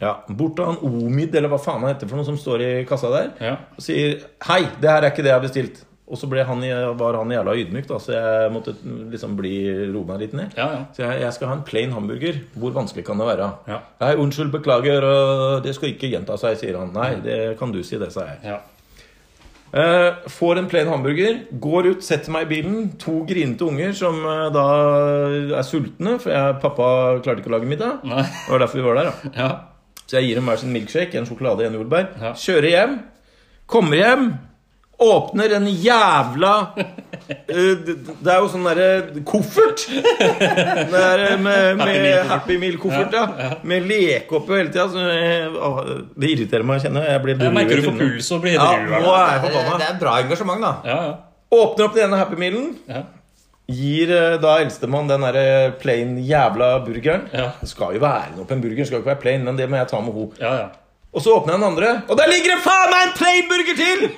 S2: Ja, Bort til han Omid, eller hva faen han heter, for noe som står i kassa der,
S1: Ja.
S2: og sier 'Hei, det her er ikke det jeg har bestilt'. Og så ble han, var han jævla ydmyk, da, så jeg måtte liksom bli roe meg litt ned.
S1: Ja, ja.
S2: Så jeg, jeg skal ha en plain hamburger. Hvor vanskelig kan det være?
S1: Ja.
S2: Nei, unnskyld, beklager, øh, det skal ikke gjenta seg, sier han. Nei, det kan du si, det, sa jeg.
S1: Ja.
S2: Eh, får en plain hamburger, går ut, setter meg i bilen. To grinete unger som eh, da er sultne, for jeg, pappa klarte ikke å lage middag.
S1: Nei.
S2: Det var derfor vi var der, da.
S1: Ja.
S2: Så jeg gir dem hver sin milkshake, en sjokolade, en jordbær.
S1: Ja.
S2: Kjører hjem, kommer hjem, åpner en jævla eh, d- d- Det er jo sånn derre koffert! Det er eh, med, med Happy Meal-koffert, ja. Med leke oppi hele tida. så, eh, å, Det irriterer meg, kjenner jeg. Jeg blir
S1: Jeg
S2: dru i
S1: merker du får
S2: trynet.
S1: puls og blir
S2: Ja,
S1: edru.
S2: nå
S1: Ja,
S2: er jeg
S4: Det
S2: forbanna.
S4: er bra engasjement, da.
S1: ja.
S2: Åpner opp den ene Happy Mealen.
S1: ja.
S2: Gir eh, da eldstemann den derre plain jævla burgeren.
S1: Ja.
S2: Det skal jo være noe på en burger, det skal jo ikke være plain, men det må jeg ta med henne.
S1: ja, ja.
S2: Og så åpner jeg den andre, og der ligger det faen meg en plain burger til!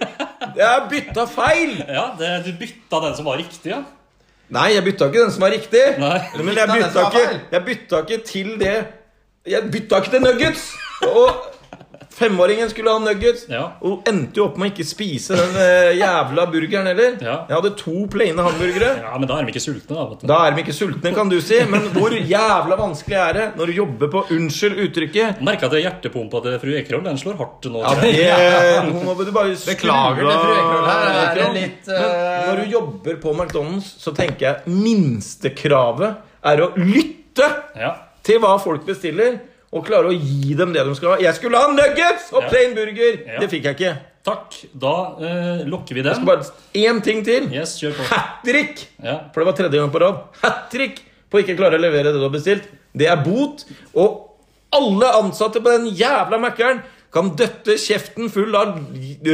S2: Jeg har bytta feil!
S1: ja det, du bytta den som var riktig, ja?
S2: Nei, jeg bytta ikke den som var riktig.
S1: Nei.
S2: Men jeg
S4: Bytta den
S2: bytta,
S4: som var
S2: ikke,
S4: feil.
S2: jeg bytta ikke til det Jeg bytta ikke til nuggets! Og femåringen skulle ha nuggets.
S1: Ja.
S2: Og hun endte jo opp med å ikke spise den eh, jævla burgeren heller.
S1: Ja.
S2: Jeg hadde to plaine hamburgere.
S1: Ja, men da er de ikke sultne, da. Vet du.
S2: Da er de ikke sultne, kan du si. Men hvor jævla vanskelig er det når du jobber på unnskyld uttrykket?
S1: Merka at hjertepumpa til fru Ekerhold den slår hardt nå.
S2: Ja,
S1: tror jeg.
S2: det Eh, Nå må du bare skru
S4: Beklager det,
S2: av-
S4: fru Ekerhol, her er det litt,
S2: Men
S4: eh,
S2: Når du jobber på McDonald's, så tenker jeg minstekravet er å lytte
S1: Ja.
S2: til hva folk bestiller, og klare å gi dem det de skal ha. Jeg skulle ha nuggets og
S1: Ja.
S2: plain burger!
S1: Ja.
S2: Det fikk jeg ikke.
S1: Takk. Da eh, lukker vi den.
S2: Bare én ting til.
S1: Yes, kjør på.
S2: Hat trick!
S1: Ja.
S2: For det var tredje gang på rad. Hat trick på ikke klare å levere det du har bestilt. Det er bot. Og alle ansatte på den jævla Mækkern kan døtte kjeften full av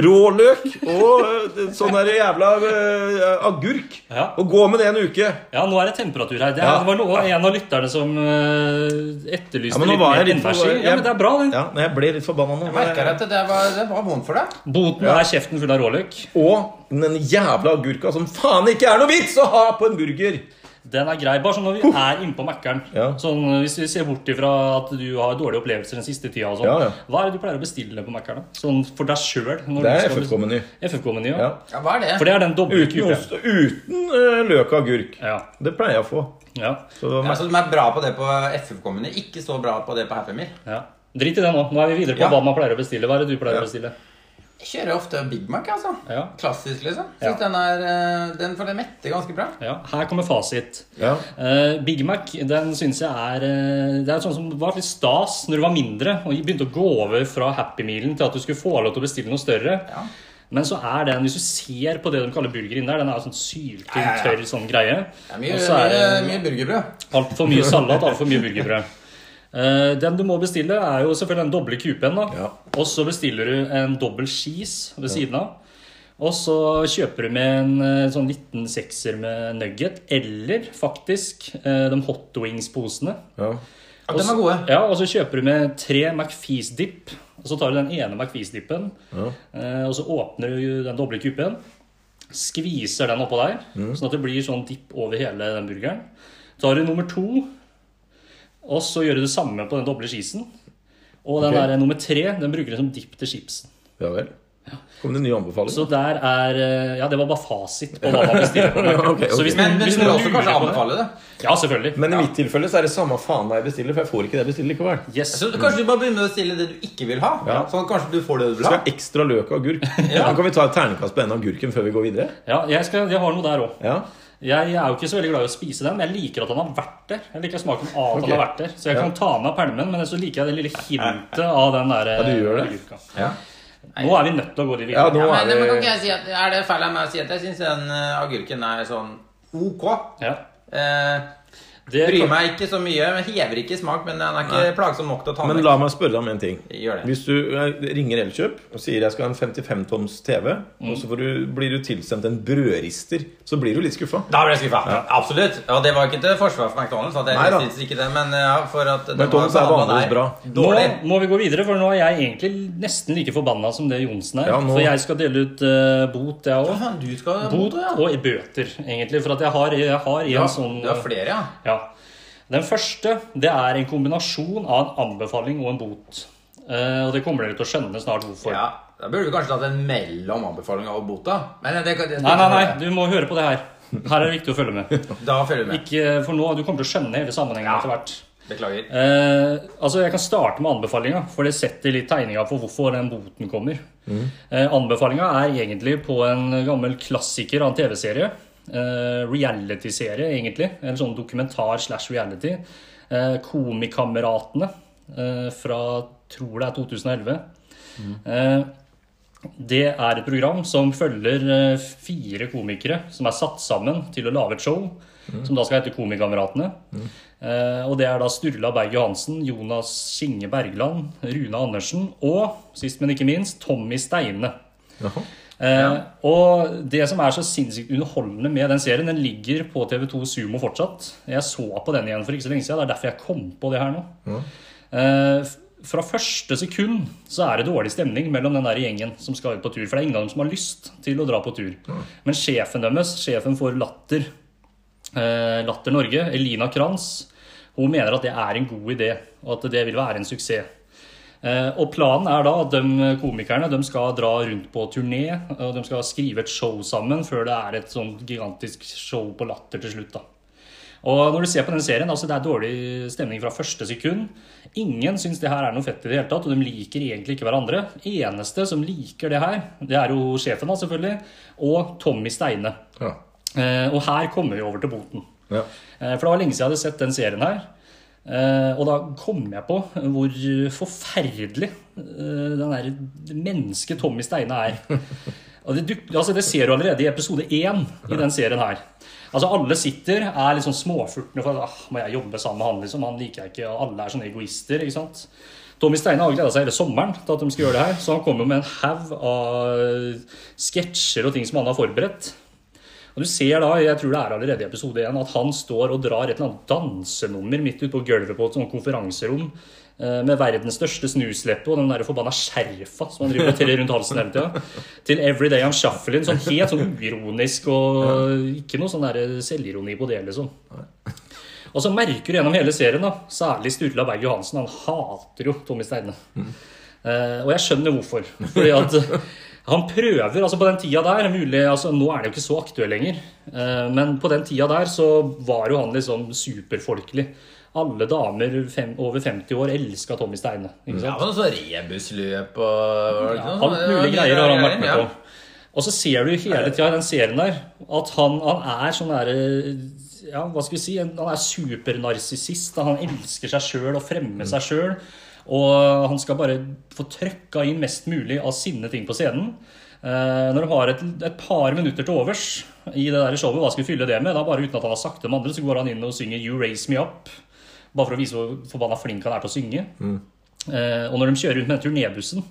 S2: råløk og eh, sånn der jævla eh, agurk
S1: Ja.
S2: og gå med det en uke.
S1: Ja, nå er det temperatur her. Det, er,
S2: Ja.
S1: det var noe, en av lytterne som eh, etterlyste
S2: Ja, men nå
S1: litt
S2: var jeg
S1: mer
S2: litt for-
S1: innversing. Ja, men det er bra, det.
S2: Ja, men jeg ble litt forbanna nå.
S3: Jeg merker at det var, det var vondt for deg.
S1: Boten
S2: Ja.
S1: er kjeften full av råløk.
S2: Og den jævla agurka som faen ikke er noe vits å ha på en burger.
S1: Den er grei. Bare sånn når vi er innpå Mækkern.
S2: Ja.
S1: Sånn, hvis vi ser bort ifra at du har dårlige opplevelser den siste tida, og sånn,
S2: Ja, ja.
S1: hva er det du pleier å bestille på Mækkern? da? Sånn for deg sjøl?
S2: Det er FFK-meny.
S1: FFK-meny, ja.
S2: Ja.
S3: Ja, hva er det?
S1: For det er den doble
S2: Uten,
S1: kuken.
S2: ost, uten eh, løk og agurk.
S1: Ja.
S2: Det pleier jeg å få.
S1: Ja.
S2: Så det var
S3: Ja, så de er bra på det på FF-kommune, ikke så bra på det på Happy Meal.
S1: ja. Drit i det nå. Nå er vi videre på
S3: Ja.
S1: hva man pleier å bestille. Hva er det du pleier
S2: Ja.
S1: å bestille?
S3: Jeg kjører ofte Big Mac, altså.
S1: Ja.
S3: Klassisk, liksom.
S1: Ja.
S3: Synes den er eh, Den får den mette ganske bra.
S1: Ja, her kommer fasit.
S2: Ja.
S1: Eh, Big Mac den synes jeg er eh, Det er sånn som var litt stas når du var mindre og begynte å gå over fra Happy Mealen til at du skulle få lov til å bestille noe større.
S3: Ja.
S1: Men så er den, hvis du ser på det de kaller burger inni der, den er sånn syltynn,
S3: Ja, ja, ja.
S1: tørr sånn greie.
S3: Det er mye,
S1: Og så er
S3: mye,
S1: det-
S3: mye burgerbrød.
S1: Altfor mye salat, altfor mye burgerbrød. Eh, den du må bestille, er jo selvfølgelig den doble kupen. da
S2: Ja.
S1: Og så bestiller du en dobbel cheese ved siden av. Og så kjøper du med en eh, sånn liten sekser med nugget, eller faktisk eh, de hot wings-posene.
S2: Ja.
S3: Ja, den var gode.
S1: Ja, Og så kjøper du med tre McFeast-dipp, og så tar du den ene McFeast-dippen.
S2: Ja.
S1: eh, Og så åpner du den doble kupen, skviser den oppå der,
S2: Mm.
S1: sånn at det blir sånn dipp over hele den burgeren. Tar du nummer to, og så gjør du det samme på den doble cheesen. Og den
S2: Ok.
S1: der nummer tre den bruker du som dipp til chipsen.
S2: ja vel. Kom det nye anbefalinger?
S1: Så der er eh, Ja, det var bare fasit på hva man bestiller. på Mac.
S2: Ok, ok.
S1: Så hvis
S3: Men,
S1: noen-
S3: men
S1: hvis
S3: du vil
S1: noen
S3: også
S1: lurer
S3: kanskje
S1: på det-
S3: anbefale det.
S1: Ja, selvfølgelig.
S2: Men i mitt tilfelle så er det samme faen hva jeg bestiller, for jeg får ikke det jeg bestiller likevel.
S1: Yes.
S3: Så kanskje du bare begynner med å stille det du ikke vil ha.
S2: Ja.
S3: Sånn at kanskje du får det du vil
S2: Skal
S3: ha.
S2: jeg ha ekstra løk og agurk? Da Kan vi ta et terningkast på en agurken før vi går videre?
S1: Ja, jeg, skal, jeg har noe der òg.
S2: Ja.
S1: Jeg er jo ikke så veldig glad i å spise den, men jeg liker at han har vært der. Jeg liker smaken av at
S2: Ok.
S1: han har vært der Så jeg kan ta med perlemenn, men så liker jeg det lille hintet av den der
S2: Ja, du gjør det.
S1: agurka.
S2: Ja,
S1: Nå er vi nødt til å gå litt
S2: ja
S1: videre.
S2: nå
S3: Ja, men,
S2: er
S3: men kan ikke
S2: det
S3: jeg si at, Er det feil av meg å si at jeg syns den eh, agurken er sånn ok?
S1: Ja.
S3: Eh,
S1: Det,
S3: bryr meg ikke så mye. men Hever ikke i smak, men den er ikke plagsom nok til å ta
S2: Men
S3: med.
S2: la meg spørre deg om en ting.
S3: Gjør det.
S2: Hvis du eh, ringer Elkjøp og sier jeg skal ha en 55-toms TV, og så får du, blir du tilsendt en brødrister, så blir du litt skuffa.
S3: Da ble jeg skuffa. Absolutt. Og det var ikke til forsvar for McDonald's. At jeg
S2: Nei da.
S3: synes ikke det, men ja, for at det
S2: McDonald's
S3: var
S2: er vanligvis
S3: der.
S2: bra.
S1: nå
S3: Dårlig.
S1: må vi gå videre, for nå er jeg egentlig nesten like forbanna som det Johnsen er.
S2: Ja, nå-
S1: For jeg skal dele ut eh, bot, jeg òg.
S3: Faen, Du skal
S1: Bot
S3: ja.
S1: og bøter, egentlig. For at jeg har, jeg har en
S3: Ja,
S1: sånn
S3: Du har flere, ja?
S1: Ja. Den første det er en kombinasjon av en anbefaling og en bot. Eh, og det kommer dere til å skjønne snart hvorfor.
S3: ja. Da burde vi kanskje tatt en mellom anbefalinga og bota. Men det, det, det,
S1: Nei, nei, nei, du må høre på det her. Her er det viktig å følge med.
S3: Da følger vi med.
S1: Ikke, eh, for nå, Du kommer til å skjønne hele sammenhengen etter hvert.
S3: Beklager.
S1: Eh, altså Jeg kan starte med anbefalinga, for det setter litt tegninga for hvorfor den boten kommer. Eh, anbefalinga er egentlig på en gammel klassiker av en TV-serie. Eh, Reality-serie, egentlig. En sånn dokumentar slash reality. Eh, Komikameratene eh, fra tror det er 2011. Eh, det er et program som følger eh, fire komikere som er satt sammen til å lage et show. Som da skal hete Komikameratene. Eh, og det er da Sturla Berg Johansen, Jonas Skinge Bergland, Rune Andersen og sist, men ikke minst, Tommy Steine.
S2: Jaha.
S1: Eh, Og det som er så sinnssykt underholdende med den serien, den ligger på TV2 Sumo fortsatt. Jeg så på den igjen for ikke så lenge siden. Det er derfor jeg kom på det her nå. Eh, f- fra første sekund så er det dårlig stemning mellom den der gjengen som skal ut på tur. For det er ingen av dem som har lyst til å dra på tur. Men sjefen deres, sjefen for Latter, eh, Latter Norge, Elina Kranz, hun mener at det er en god idé, og at det vil være en suksess. Eh, Og planen er da at de komikerne de skal dra rundt på turné, og de skal skrive et show sammen før det er et sånt gigantisk show på latter til slutt. da. Og når du ser på den serien, altså det er dårlig stemning fra første sekund. Ingen syns det her er noe fett i det hele tatt, og de liker egentlig ikke hverandre. Eneste som liker det her, det er jo sjefen, da, selvfølgelig, og Tommy Steine.
S2: Ja.
S1: Eh, Og her kommer vi over til boten.
S2: Ja.
S1: Eh, For det var lenge siden jeg hadde sett den serien her. Eh, Og da kom jeg på hvor forferdelig eh, den der mennesket Tommy Steine er. Og det, duk- altså det ser du allerede i episode én i den serien her. Altså Alle sitter, er litt sånn småfurtne for at ah, må jeg jobbe sammen med han, liksom. Han liker jeg ikke, og alle er sånne egoister. ikke sant? Tommy Steine har gleda seg hele sommeren til at de skal gjøre det her, så han kommer med en haug av sketsjer og ting som han har forberedt. Og du ser da, jeg tror det er allerede i episode 1, at han står og drar et eller annet dansenummer midt ute på gulvet på et sånt konferanserom eh, med verdens største snusleppe og den der forbanna skjerfa som han driver og teller rundt halsen hele tida. Til Every Day I'm Shuffling. Sånn helt sånn uironisk og ikke noe sånn der selvironi på det, liksom. Og så merker du gjennom hele serien, da, særlig Sturla Berg Johansen, han hater jo Tommy Steine. Eh, og jeg skjønner hvorfor. Fordi at han prøver, altså på den tida der mulig, altså Nå er det jo ikke så aktuell lenger, eh, men på den tida der så var jo han liksom superfolkelig. Alle damer fem, over 50 år elska Tommy Steine. Ikke sant?
S4: Ja, men
S3: sånn
S4: så rebusløp og var det ikke noe sånt?
S1: Alt
S4: Ja,
S1: mulig greier har han vært med
S4: ja.
S1: på. Og så ser du hele tida i den serien der at han, han er sånn derre Ja, hva skal vi si? en- Han er supernarsissist. og Han elsker seg sjøl og fremmer seg
S4: Mm.
S1: sjøl. Og han skal bare få trøkka inn mest mulig av sinne ting på scenen. Eh, når de har et, et par minutter til overs i det der showet, hva skal vi fylle det med? Da bare uten at han har sagt det med andre, så går han inn og synger 'You Raise Me Up'. Bare for å vise hvor forbanna flink han er til å synge.
S4: Mm.
S1: Eh, og når de kjører rundt med den turnébussen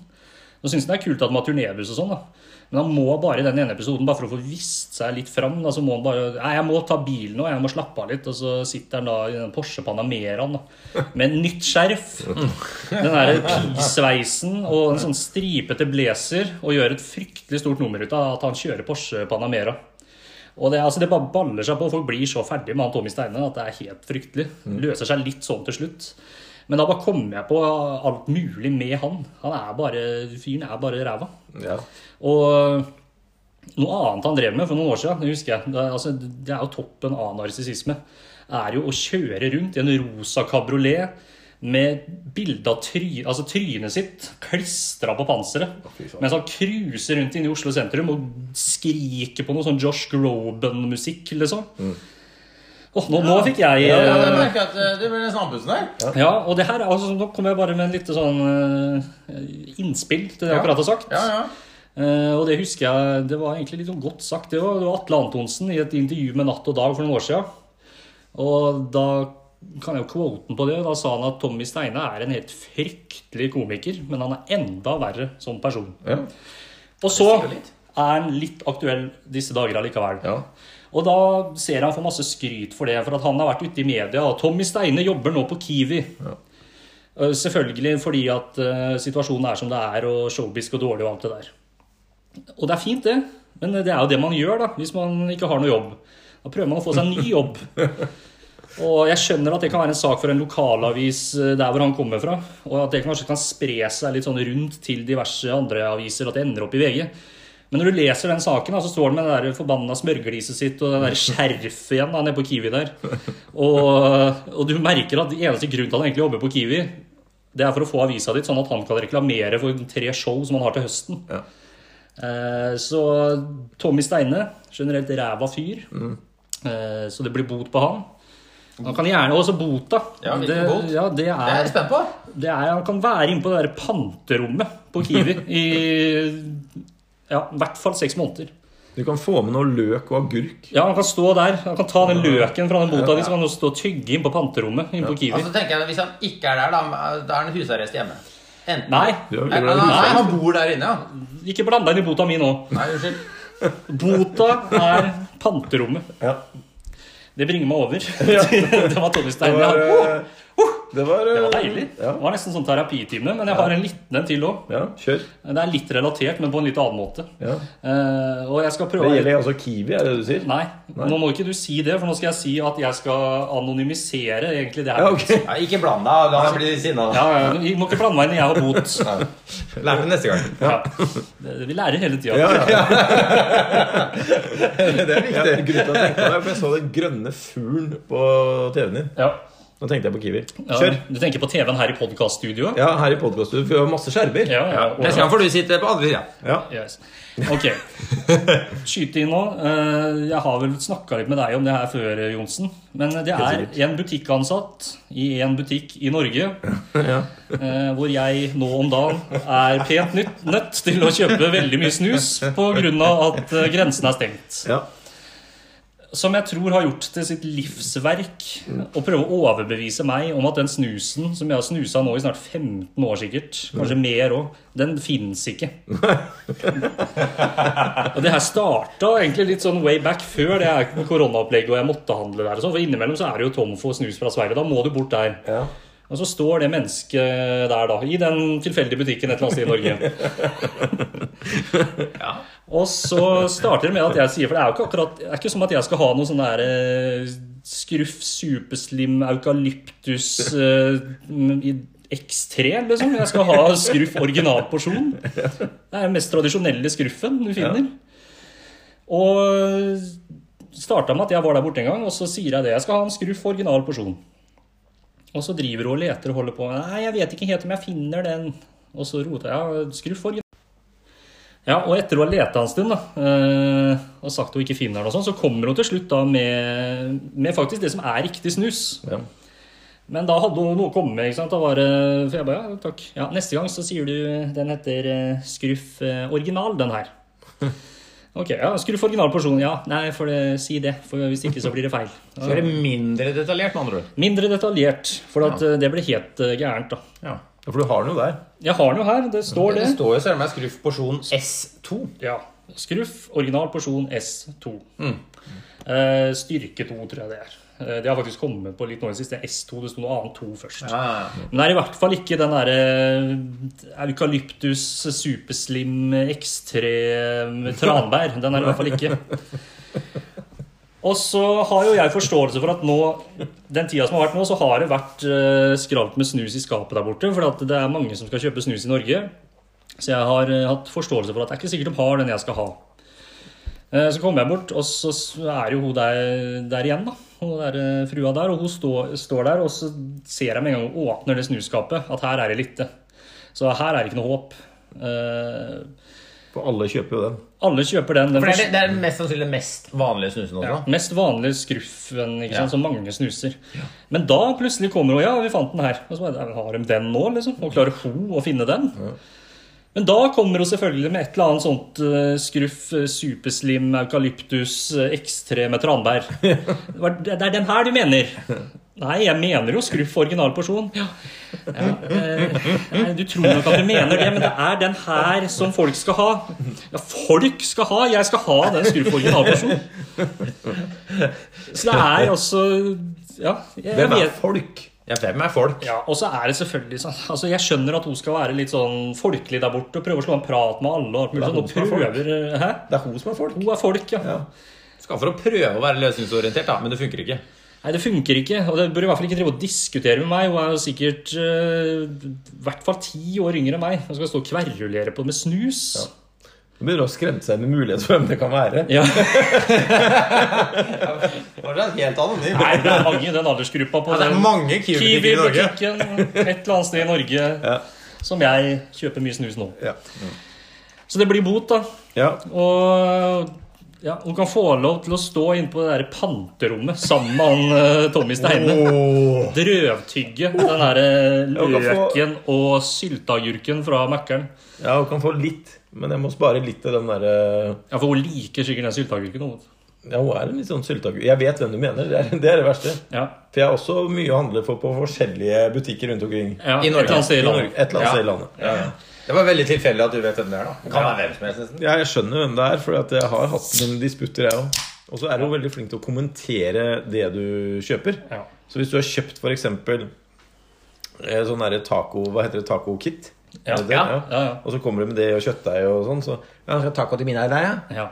S1: Nå syns jeg det er kult at de har turnébuss og sånn, da. Men han må bare i den ene episoden, bare for å få vist seg litt fram, da, så må han bare Nei, jeg må ta bilen nå, jeg må slappe av litt. Og så sitter han da i den Porsche Panameraen da, med nytt skjerf. Den derre pisveisen og en sånn stripete blazer, og gjør et fryktelig stort nummer ut av at han kjører Porsche Panamera. Og det, altså, det bare baller seg på. Folk blir så ferdig med han Tommy Steine at det er helt fryktelig. Løser seg litt sånn til slutt. Men da bare kommer jeg på alt mulig med han. Han er bare, Fyren er bare ræva.
S2: Ja.
S1: Og eh, noe annet han drev med for noen år siden, det husker jeg Det, er- altså, det er jo toppen av narsissisme. Er jo å kjøre rundt i en rosa kabriolet med bilde av try, altså trynet sitt klistra på panseret.
S2: fy faen.
S1: Mens han cruiser rundt inne i Oslo sentrum og skriker på noe sånn Josh Groban-musikk, liksom. Åh, nå, nå fikk jeg
S3: Mm. Ja, jeg
S1: eh,
S3: merker at eh, det ble nesten andpusten her.
S1: Ja, og det her er altså, Nå kommer jeg bare med en lite sånn eh, innspill til det jeg akkurat har sagt.
S3: Ja, ja.
S1: Eh, og det husker jeg, det var egentlig litt sånn godt sagt. Det var, det var Atle Antonsen i et intervju med Natt og Dag for noen år siden. Og da kan jeg jo quoten på det. Da sa han at Tommy Steine er en helt fryktelig komiker, men han er enda verre som person.
S2: Ja.
S1: Og så
S3: Det sier jo
S1: er
S3: litt.
S1: han litt aktuell disse dager allikevel.
S2: ja.
S1: Og da ser han får masse skryt for det, for at han har vært ute i media. Og Tommy Steine jobber nå på Kiwi. Eh, Selvfølgelig fordi at eh, situasjonen er som det er, og showbiz går dårlig og alt det der. Og det er fint, det, men det er jo det man gjør da, hvis man ikke har noe jobb. Da prøver man å få seg en ny jobb. Og jeg skjønner at det kan være en sak for en lokalavis eh, der hvor han kommer fra, og at det kanskje kan spre seg litt sånn rundt til diverse andre aviser, at det ender opp i VG. Men når du leser den saken, da, så står han med det der forbanna smørgliset sitt og det der skjerfet igjen da, nede på Kiwi der. Og, og du merker at eneste grunn til at han egentlig jobber på Kiwi, det er for å få avisa ditt, sånn at han kan reklamere for tre show som han har til høsten.
S2: Ja.
S1: Eh, så Tommy Steine, generelt ræva fyr. Eh, så det blir bot på han. Han kan gjerne også bota.
S3: Ja, hvilken
S1: det,
S3: bot?
S1: ja, det
S3: Det er
S1: er
S3: jeg spent på.
S1: det er, han kan være inne på det der panterommet på Kiwi i ja, i hvert fall seks måneder.
S2: Du kan få med noe løk og agurk.
S1: Ja, Han kan stå der, han kan ta den løken fra den bota di, så kan han stå og tygge inn på panterommet inne på Kiwi.
S3: Altså tenker jeg, Hvis han ikke er der, da, da er han husarrest hjemme. Enten.
S1: Nei,
S2: Du har
S3: Nei,
S2: vel
S3: nei, nei, han bor der inne, ja.
S1: ikke bland deg inn i bota mi nå.
S3: Nei, unnskyld.
S1: Bota er panterommet.
S2: Ja.
S1: Det bringer meg over. det var Tommy
S2: Det
S1: Stein.
S2: var,
S1: Det
S2: eh, det var, eh,
S1: var deilig. Det
S2: Ja.
S1: var nesten sånn terapitime. Men jeg har en liten en til òg.
S2: ja, kjør.
S1: Det er litt relatert, men på en litt annen måte.
S2: Ja.
S1: Eh, og jeg skal
S2: Det
S1: prøve
S2: gjelder altså Kiwi, er det det du sier?
S1: Nei, nå må ikke du si det, for nå skal jeg si at jeg skal anonymisere egentlig det her.
S2: Ja, ok.
S3: Nei, ikke bland deg, da blir de sinna.
S1: Ja, ja, du må ikke blande meg inn i jeg har bot.
S4: Lær meg neste gang.
S1: Ja. Det- Vi lærer hele tida.
S2: Ja, ja.
S4: Det er
S2: Ja,
S4: viktig.
S2: grunnen til at jeg tenkte på det, er for jeg så den grønne fuglen på TV-en din.
S1: Ja.
S2: Nå tenkte jeg på Kiwi.
S1: Ja,
S2: Kjør.
S1: Du tenker på TV-en her i podkaststudioet?
S2: Ja, her i podkasten. Vi har masse skjermer.
S1: Ja, ja. og-
S4: Neste gang får du sitte på andre sida.
S2: Ja.
S1: Yes. Ok. Skyte inn nå. Eh, Jeg har vel snakka litt med deg om det her før, Johnsen. Men det er en butikkansatt i en butikk i Norge
S2: Ja.
S1: Eh, hvor jeg nå om dagen er pent nytt, nødt til å kjøpe veldig mye snus pga. at eh, grensen er stengt.
S2: Ja.
S1: Som jeg tror har gjort til sitt livsverk å prøve å overbevise meg om at den snusen som jeg har snusa nå i snart 15 år sikkert, kanskje mer òg, den fins ikke. Og det her starta egentlig litt sånn way back før det her koronaopplegget og jeg måtte handle der. og sånn, For innimellom så er det jo tom for snus fra Sverige. Da må du bort der.
S2: Ja.
S1: Og så står det mennesket der, da, i den tilfeldige butikken et eller annet sted i Norge. Og så starter det med at jeg sier, for det er jo ikke akkurat Det er ikke som at jeg skal ha noe sånn der eh, skruff, superslim, eukalyptus eh, mm, i X3, liksom. Jeg skal ha skruff originalporsjon. Det er den mest tradisjonelle skruffen du finner. Og starta med at jeg var der borte en gang, og så sier jeg det. Jeg skal ha en skruff original porsjon. Og så driver hun og leter og holder på. Nei, jeg vet ikke helt om jeg finner den. Og så roter jeg. Ja, skru for. Ja, og etter å ha leta en stund da, eh, og sagt hun ikke finner den, og sånn, så kommer hun til slutt da med, med faktisk det som er riktig snus.
S2: Ja.
S1: Men da hadde hun noe å komme med. ikke sant? Da var det, for jeg bare, ja, takk. Ja, neste gang så sier du den heter eh, Skruff eh, original, den her. Ok, ja, Skruff original porsjon. Ja, nei, for det, si det. For hvis ikke så blir det feil.
S4: Så er det mindre detaljert, med andre ord.
S1: Mindre detaljert, for at eh, det ble helt eh, gærent, da.
S2: Ja, For du har den jo der.
S1: Jeg har den jo her. Det står det.
S4: Det står jo selv om jeg skruff porsjon S2.
S1: Ja. Mm. Skruff original porsjon S2. Eh, styrke 2, tror jeg det er. Eh, Det har faktisk kommet på litt nå i det siste. S2, det sto noe annet 2 først. Men det er i hvert fall ikke den derre eukalyptus superslim ekstrem tranbær. Den er det i hvert fall ikke. Og så har jo jeg forståelse for at nå, den tida som har vært nå, så har det vært eh, skralt med snus i skapet der borte. For at det er mange som skal kjøpe snus i Norge. Så jeg har eh, hatt forståelse for at det er ikke sikkert de har den jeg skal ha. Eh, Så kommer jeg bort, og så s- er jo hun der, der igjen, da. Hun der, eh, frua der. Og hun står, står der, og så ser jeg med en gang hun åpner det snuskapet, at her er det lite. Så her er det ikke noe håp. Eh,
S2: For alle kjøper jo den.
S1: alle kjøper den. den
S4: For det er,
S1: første-
S4: det- det er mest sannsynlig det mest vanlige snusen også.
S1: Mest vanlig skruffen ikke sant, som mange snuser. Men da plutselig kommer hun, ja, vi fant den her. Og så bare, har de den nå, liksom? Og klarer hun å finne den? Men da kommer hun selvfølgelig med et eller annet sånt eh, skruff, eh, superslim, eukalyptus, eh, ekstreme tranbær. Det var- Det er den her du mener? Nei, jeg mener jo skruff original porsjon. Ja. eh, nei, du tror nok at du mener det, men det er den her som folk skal ha. Ja, folk skal ha! Jeg skal ha den skruff original porsjon. Så det er også Ja. Jeg,
S2: Hvem er
S1: vet-
S2: folk?
S4: Ja, hvem er folk?
S1: ja, og så er det selvfølgelig sånn altså Jeg skjønner at hun skal være litt sånn folkelig der borte og prøve å slå en prat med alle. og alt mulig
S2: Det er
S1: sånn, og
S2: hun som er folk.
S1: prøver, hæ?
S2: Det er hun som er folk.
S1: Hun er folk, ja.
S2: Ja.
S4: Skal for å prøve å være løsningsorientert, da, men det funker ikke.
S1: Nei, det funker ikke. Og det burde i hvert fall ikke drive og diskutere med meg. Hun er jo sikkert eh, i hvert fall ti år yngre enn meg. Hun skal stå og kverulere på det med snus.
S2: Hun begynner å skremme seg med mulighet for hvem det kan være.
S1: Ja.
S3: Fortsatt helt anonym.
S1: Nei, det er mange i den aldersgruppa på
S4: Ja, det er
S1: den
S4: mange Kiwi-butikker i Norge.
S1: Kiwi-butikken et eller annet sted i Norge som jeg kjøper mye snus nå.
S2: Ja.
S1: Så det blir bot, da.
S2: Ja.
S1: Og ja, hun kan få lov til å stå inne på det der panterommet sammen med han eh, Tommy Steine. Drøvtygge den derre
S2: Hun kan få-
S1: løken og sylteagurken fra Mækkern.
S2: ja, hun kan få litt, men jeg må spare litt til den derre
S1: Ja, for hun liker sikkert den sylteagurken. hun.
S2: Ja, hun er en litt sånn sylteagurk. Jeg vet hvem du mener. Det er det, er det verste.
S1: Ja,
S2: For jeg har også mye å handle for på forskjellige butikker rundt omkring.
S1: ja,
S4: I Norge.
S1: Et eller annet sted i landet.
S2: Et eller annet sted i landet.
S3: Det var veldig tilfeldig at du vet hvem det er, da.
S4: Kan være hvem som helst, nesten.
S2: Ja, jeg skjønner hvem det er, for at jeg har hatt noen disputter, jeg òg. Og så er hun veldig flink til å kommentere det du kjøper.
S1: Ja.
S2: Så hvis du har kjøpt f.eks. sånn derre taco Hva heter det? Taco-kit?
S1: Ja.
S2: Er det det?
S1: Ja. Ja, ja.
S2: Og så kommer du med det og kjøttdeig og sånn, så ja, skal jeg ta
S4: Taco til mine er deg, ja.
S1: Ja.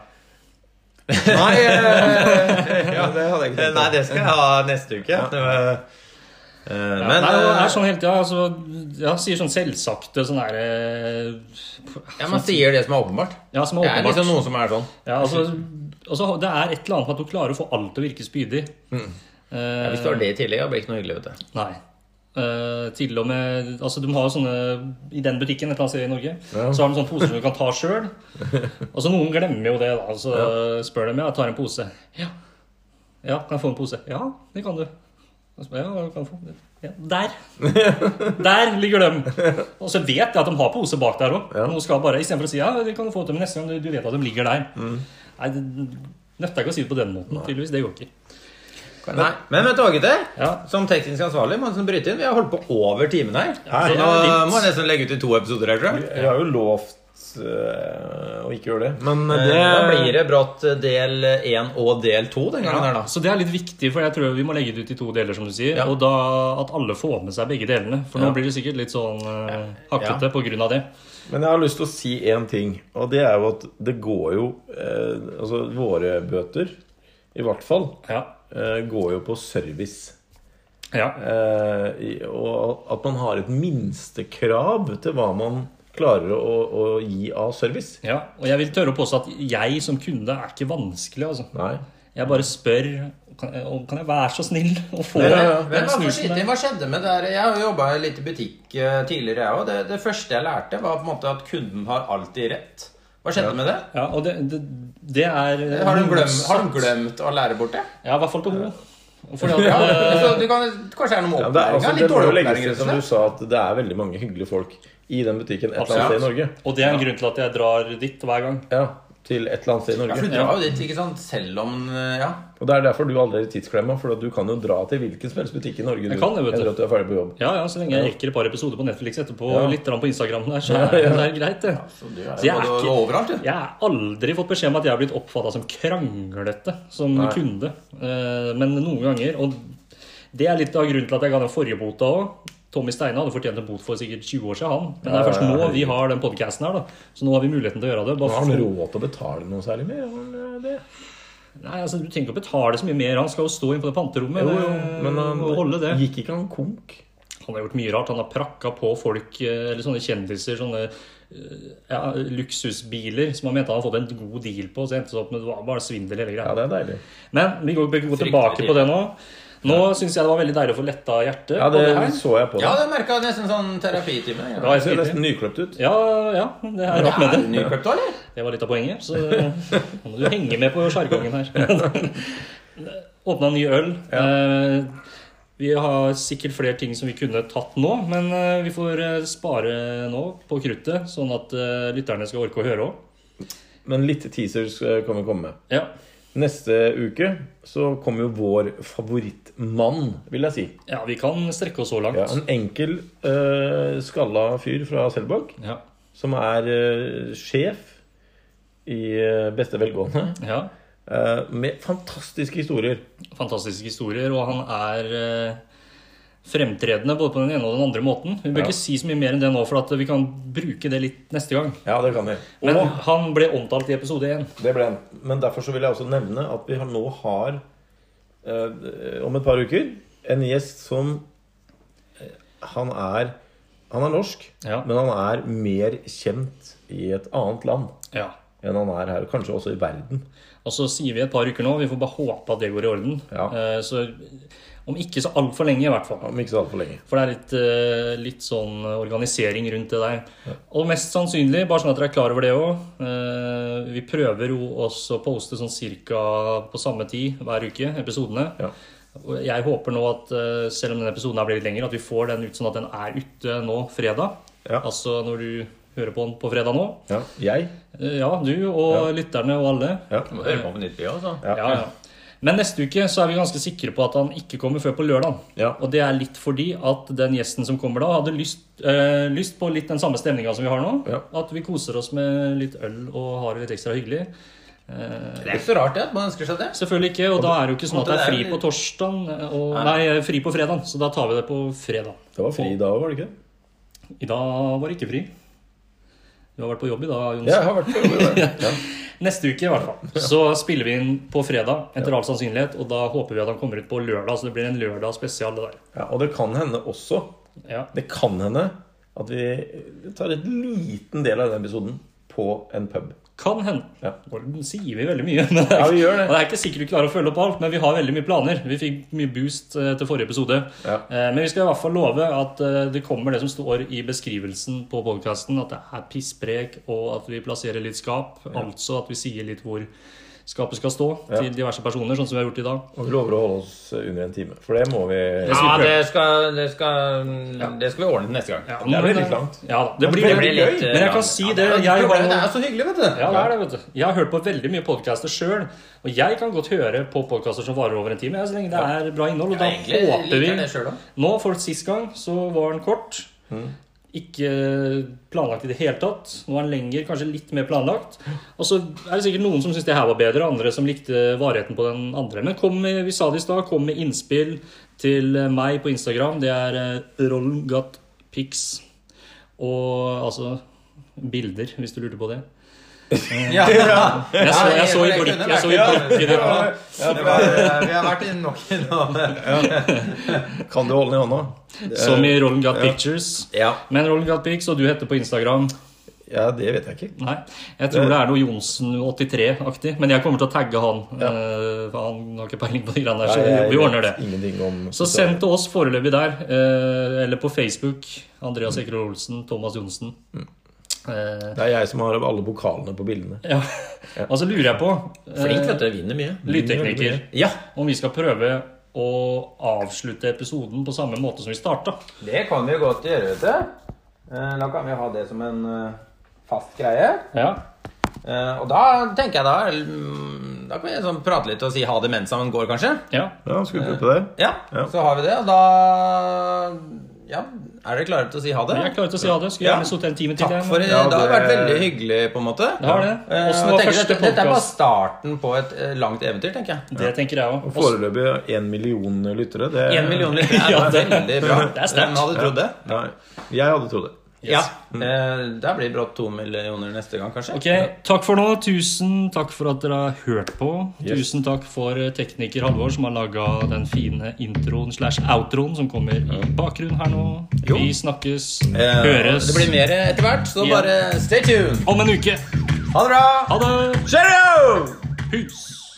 S2: Nei, eh, ja, det hadde jeg ikke
S4: Nei, det skal jeg ha neste uke. Det var- Eh, Men
S1: Nei, det
S4: eh,
S1: er sånn hele tida. Altså, ja, sier sånn selvsagte sånn derre
S4: ja, man sier det som er åpenbart.
S1: Ja, som
S4: Det
S1: er
S4: er
S1: åpenbart.
S4: liksom noen som er sånn.
S1: Ja, altså, og så- det er et eller annet med at hun klarer å få alt til å virke spydig. Eh,
S4: Mm. Hvis du har det i tillegg, da blir det ikke noe hyggelig, vet du.
S1: Nei. Eh, til og med Altså, de har jo sånne I den butikken et eller annet sted i Norge Så har de sånne poser som du kan ta sjøl. Og så noen glemmer jo det, da. Så spør dem ja, jeg tar en pose. Ja. ja, kan jeg få en pose? Ja, det kan du. Og så, Ja, kan jeg få det? Ja, der! Der ligger dem! Og så vet jeg at de har pose bak der òg. Ja. Istedenfor å si ja, det kan du få til meg neste gang. Du- Du vet at de ligger der. Nei, det nøtter ikke å si det på den måten. Tydeligvis. Det går ikke.
S4: Nei, Men vet du hva, gutter?
S1: Ja.
S4: Som teknisk ansvarlig må jeg nesten bryte inn. Vi har holdt på over timen her.
S2: Ja,
S4: Så
S2: det er
S4: nå
S1: litt.
S4: må jeg nesten legge ut i to episoder her,
S3: Eh,
S4: tror jeg.
S2: Jeg har jo lovt eh, å ikke gjøre det, men
S4: Eh,
S2: det
S4: Da blir det brått
S3: eh,
S4: del én og del to den gangen her, da.
S1: Så det er litt viktig, for jeg tror vi må legge det ut i to deler, som du sier.
S4: Ja.
S1: Og da at alle får med seg begge delene. For nå blir det sikkert litt sånn eh, hakkete på grunn av det.
S2: Men jeg har lyst til å si én ting, og det er jo at det går jo eh, Altså, våre bøter, i hvert fall,
S1: Ja.
S2: eh, går jo på service.
S1: ja.
S2: Eh, i- og at man har et minstekrav til hva man klarer å, å gi av service.
S1: ja. Og jeg vil tørre å påstå at jeg som kunde er ikke vanskelig, altså.
S2: Nei.
S1: Jeg bare spør kan jeg, om- kan jeg være så snill å få
S2: Ja,
S3: Eh,
S2: ja, ja.
S1: den
S3: Men hva, for
S1: snusen
S3: skyting,
S1: der?
S3: hva skjedde med det her? Jeg har jobba litt i butikk eh, tidligere, jeg òg. Det, det første jeg lærte, var på en måte at kunden har alltid rett. Hva skjedde med det?
S1: Ja, og det, det, det er
S3: Har de, glemt, har de glemt å lære bort det?
S1: Ja, i hvert fall til henne. Fordi at,
S3: Ja,
S1: eh,
S3: så altså, du kan, kanskje det er noe med
S2: Ja, det, er,
S3: opplæringa?
S2: altså, det
S3: litt
S2: må jo
S3: dårlig
S2: legges
S3: opplæring?
S2: til,
S3: rett
S2: som
S3: og
S2: du
S3: slett.
S2: sa, at det er veldig mange hyggelige folk i den butikken et eller annet sted i Norge.
S1: og det er en grunn til at jeg drar dit hver gang.
S2: Ja, til et eller annet sted i
S3: Ja, for du
S2: Norge.
S3: drar jo dit ikke sant, selv om eh, Ja.
S2: Og det er derfor du aldri er i tidsklemma, for at du kan jo dra til hvilken som helst butikk i Norge du,
S1: Jeg kan det, vet du.
S2: etter at du er ferdig på jobb.
S1: Ja, ja, Så lenge jeg rekker et par episoder på Netflix etterpå,
S2: Ja.
S1: litt grann på Instagram der, så er det er greit, det.
S3: Så du er
S1: Så jeg
S3: jo
S1: er
S3: både
S1: ikke-
S3: overalt, du.
S1: Jeg har aldri fått beskjed om at jeg har blitt oppfatta som kranglete som kunde. Eh, Men noen ganger, og det er litt av grunnen til at jeg ga den forrige bota òg. Tommy Steine hadde fortjent en bot for sikkert 20 år siden, han. Men det er
S2: Ja,
S1: først
S2: ja,
S1: nå
S2: herregud.
S1: vi har den podkasten her, da. Så nå har vi muligheten til å gjøre det. Bare
S2: Har han
S1: for-
S2: råd til å betale noe særlig mer? Har han det?
S1: Nei, altså, du trenger ikke å betale så mye mer. Han skal jo stå inn på det panterommet eh,
S2: Jo, jo, men han
S1: og holde det.
S2: gikk ikke han konk?
S1: Han har gjort mye rart. Han har prakka på folk, eh, eller sånne kjendiser, sånne eh, ja, luksusbiler som han mente han hadde fått en god deal på, så endte det opp med det var bare svindel hele greia.
S2: Ja, det er deilig.
S1: Men vi går, vi går tilbake på det nå. Nå synes syns jeg det var veldig deilig å få letta hjertet
S2: Ja,
S1: på det
S2: det
S1: her.
S2: så jeg på
S3: Ja,
S2: deg.
S3: det merka nesten sånn terapitime.
S1: Det
S3: Ja.
S1: var
S2: Jeg ser
S1: helt
S2: nesten
S1: riktig.
S2: nyklipt ut.
S1: Ja, ja. Det er rart
S3: Er
S1: med
S3: du
S1: det.
S3: nyklipt, eller?
S1: Det var litt av poenget, så nå må du henge med på sjargongen her. Åpna ny øl. Eh, Vi har sikkert flere ting som vi kunne tatt nå, men eh, vi får eh, spare nå på kruttet, sånn at eh, lytterne skal orke å høre òg.
S2: Men litt teasers eh, kan vi komme med.
S1: Ja.
S2: Neste uke så kommer jo vår favorittmann, vil jeg si.
S1: ja, vi kan strekke oss så langt.
S2: Ja, en enkel, eh, skalla fyr fra Selbakk
S1: Ja.
S2: som er eh, sjef i eh, beste velgående,
S1: ja.
S2: eh, med fantastiske historier.
S1: Fantastiske historier, og han er eh, fremtredende både på den ene og den andre måten. Vi bør
S2: Ja.
S1: ikke si så mye mer enn det nå, for at vi kan bruke det litt neste gang.
S2: Ja, det kan vi.
S1: Men
S2: Og
S1: han ble omtalt i episode én.
S2: det ble en. Men derfor så vil jeg også nevne at vi har, nå har, eh, om et par uker, en gjest som eh, han er Han er norsk,
S1: Ja.
S2: men han er mer kjent i et annet land
S1: Ja.
S2: enn han er her. Kanskje også i verden.
S1: Og så sier vi et par uker nå. Vi får bare håpe at det går i orden.
S2: Ja.
S1: Eh, Så om ikke så altfor lenge, i hvert fall.
S2: Om ikke så altfor lenge.
S1: For det er litt, eh, litt sånn organisering rundt det der. Og mest sannsynlig, bare sånn at dere er klar over det òg Vi prøver jo også å poste sånn cirka på samme tid hver uke, episodene.
S2: Ja.
S1: Og Jeg håper nå at eh, selv om denne episoden her blir litt lenger, at vi får den ut sånn at den er ute nå fredag.
S2: Ja.
S1: Altså når du hører på den på fredag nå.
S2: Ja. Jeg
S1: Eh, Ja, du og lytterne og alle.
S2: Ja.
S3: Du må høre på på nytt, vi også.
S1: Ja, ja. Men neste uke så er vi ganske sikre på at han ikke kommer før på lørdag.
S2: Ja.
S1: Og det er litt fordi at den gjesten som kommer da, hadde lyst, eh, lyst på litt den samme stemninga som vi har nå.
S2: Ja.
S1: At vi koser oss med litt øl og har det litt ekstra hyggelig. Eh,
S3: Det er ikke så rart det, at man ønsker seg det.
S1: Selvfølgelig ikke, og da er det jo ikke sånn at det er fri på torsdag, og, nei, eh, fri på fredag. Så da tar vi det på fredag.
S2: Det var fri da òg, var det ikke? det?
S1: I dag var det ikke fri. Du har vært på jobb i dag, Jonas.
S2: Jeg har vært på jobb i dag. Ja.
S1: Neste uke i hvert fall Så spiller vi inn på fredag etter all sannsynlighet. Og da håper vi at han kommer ut på lørdag, så det blir en lørdag spesial. det der
S2: Ja, og det kan hende også
S1: ja.
S2: Det kan hende at vi tar et liten del av den episoden på en pub.
S1: Kan hende.
S2: Ja.
S1: Nå sier vi veldig mye. Men det er,
S2: Ja, vi gjør det.
S1: og det er ikke sikkert vi klarer å følge opp alt, men vi har veldig mye planer. Vi fikk mye boost eh, til forrige episode.
S2: Ja.
S1: Eh, Men vi skal i hvert fall love at eh, det kommer det som står i beskrivelsen på podkasten, at det er pissprek, og at vi plasserer litt skap. Altså at vi sier litt hvor skapet skal stå
S2: Ja.
S1: til diverse personer, sånn som vi har gjort i dag.
S2: Og vi lover å holde oss under en time. For det må vi
S1: Ja,
S4: Ja,
S1: vi prøver.
S4: det skal, det, skal, det skal vi ordne til neste gang.
S1: Ja,
S2: det er
S1: men-
S2: veldig langt.
S1: Ja, da. det
S2: Men
S1: blir
S2: det
S1: det.
S2: blir litt,
S1: Men jeg
S4: eh,
S1: kan si det.
S3: Ja,
S1: Jeg har
S3: problemet
S1: noe
S3: er så hyggelig, vet du.
S1: Ja, det er det, vet du. Jeg har hørt på veldig mye podcaster sjøl, og jeg kan godt høre på podcaster som varer over en time, ja, så lenge det er bra innhold. Og da
S3: Ja, egentlig
S1: håper
S3: liker jeg det
S1: vi
S3: selv, da.
S1: Nå, for sist gang, så var den kort. Ikke planlagt i det hele tatt. Nå er den lenger, kanskje litt mer planlagt. Og så er det sikkert noen som syns det her var bedre, andre som likte varigheten på den andre. Men kom med, vi sa det i stad, kom med innspill til meg på Instagram. Det er eh, rollengatpix. Og altså bilder, hvis du lurte på det.
S3: Ja,
S1: Jeg så, jeg så i
S3: Ja,
S1: blikket
S3: det
S1: jeg så i
S3: kunne vært-
S1: blikket ditt.
S3: Ja, det var- Vi har vært inne nok innom
S2: Kan du holde den i hånda?
S1: Som i Rolling Got Pictures.
S2: Ja.
S1: Men Rolling Got Pics, og du heter på Instagram
S2: Ja, det vet jeg ikke.
S1: Nei, jeg tror det er noe Johnsen83-aktig, men jeg kommer til å tagge han. eh, for han har ikke peiling på de greiene der, så
S2: jeg
S1: vi ordner det.
S2: vet Ingenting om
S1: Så send til oss foreløpig der, eh, eller på Facebook. Andreas Ekerol Olsen, Thomas Johnsen.
S3: Mm.
S1: Eh,
S2: Det er jeg som har alle bokalene på bildene.
S1: ja. Og så lurer jeg på, Eh,
S4: Flink, vet du. Vinner mye.
S1: lydtekniker,
S4: Ja,
S1: om vi skal prøve å avslutte episoden på samme måte som vi starta.
S3: Det kan vi jo godt gjøre, vet du. Eh, Da kan vi ha det som en eh, fast greie.
S1: Ja.
S3: Eh, Og da tenker jeg da mm, Da kan vi sånn prate litt og si ha det mens han går, kanskje.
S1: ja.
S2: Ja, skal vi prøve det?
S3: Ja,
S2: Ja.
S3: så har vi det. Og da Ja, er dere klare til å si ha det?
S1: Jeg klarer ikke å si ha det. Skulle
S3: Ja.
S1: gjerne sittet en time til.
S3: Takk
S1: jeg,
S3: for
S1: men-
S3: det.
S2: Ja,
S3: det har
S2: det-
S3: vært veldig hyggelig, på en måte.
S1: Det har det.
S3: Eh,
S1: Åssen
S3: og
S1: var
S3: tenker jeg,
S1: første
S3: dette, dette er bare
S1: podkast?
S3: starten på et eh, langt eventyr, tenker jeg.
S1: Det tenker jeg
S2: Og
S1: òg.
S2: foreløpig én million lyttere. Det
S3: Én million lyttere er
S1: Ja, det-
S3: veldig bra.
S1: det er sterkt.
S3: Hvem hadde trodd det?
S2: Nei, jeg hadde trodd det.
S3: Ja. Eh, Da blir det brått to millioner neste gang, kanskje.
S1: Mm. Ok, Takk for nå. Tusen takk for at dere har hørt på.
S2: Yes.
S1: Tusen takk for eh, tekniker Halvor, som har laga den fine introen slash outroen som kommer i bakgrunnen her nå. Vi snakkes,
S3: Eh,
S1: høres
S3: Det blir mer etter hvert, så
S1: Ja.
S3: bare stay tuned.
S1: om en uke.
S3: Ha det bra!
S1: Ha det!
S3: Cheerio!
S1: Hus!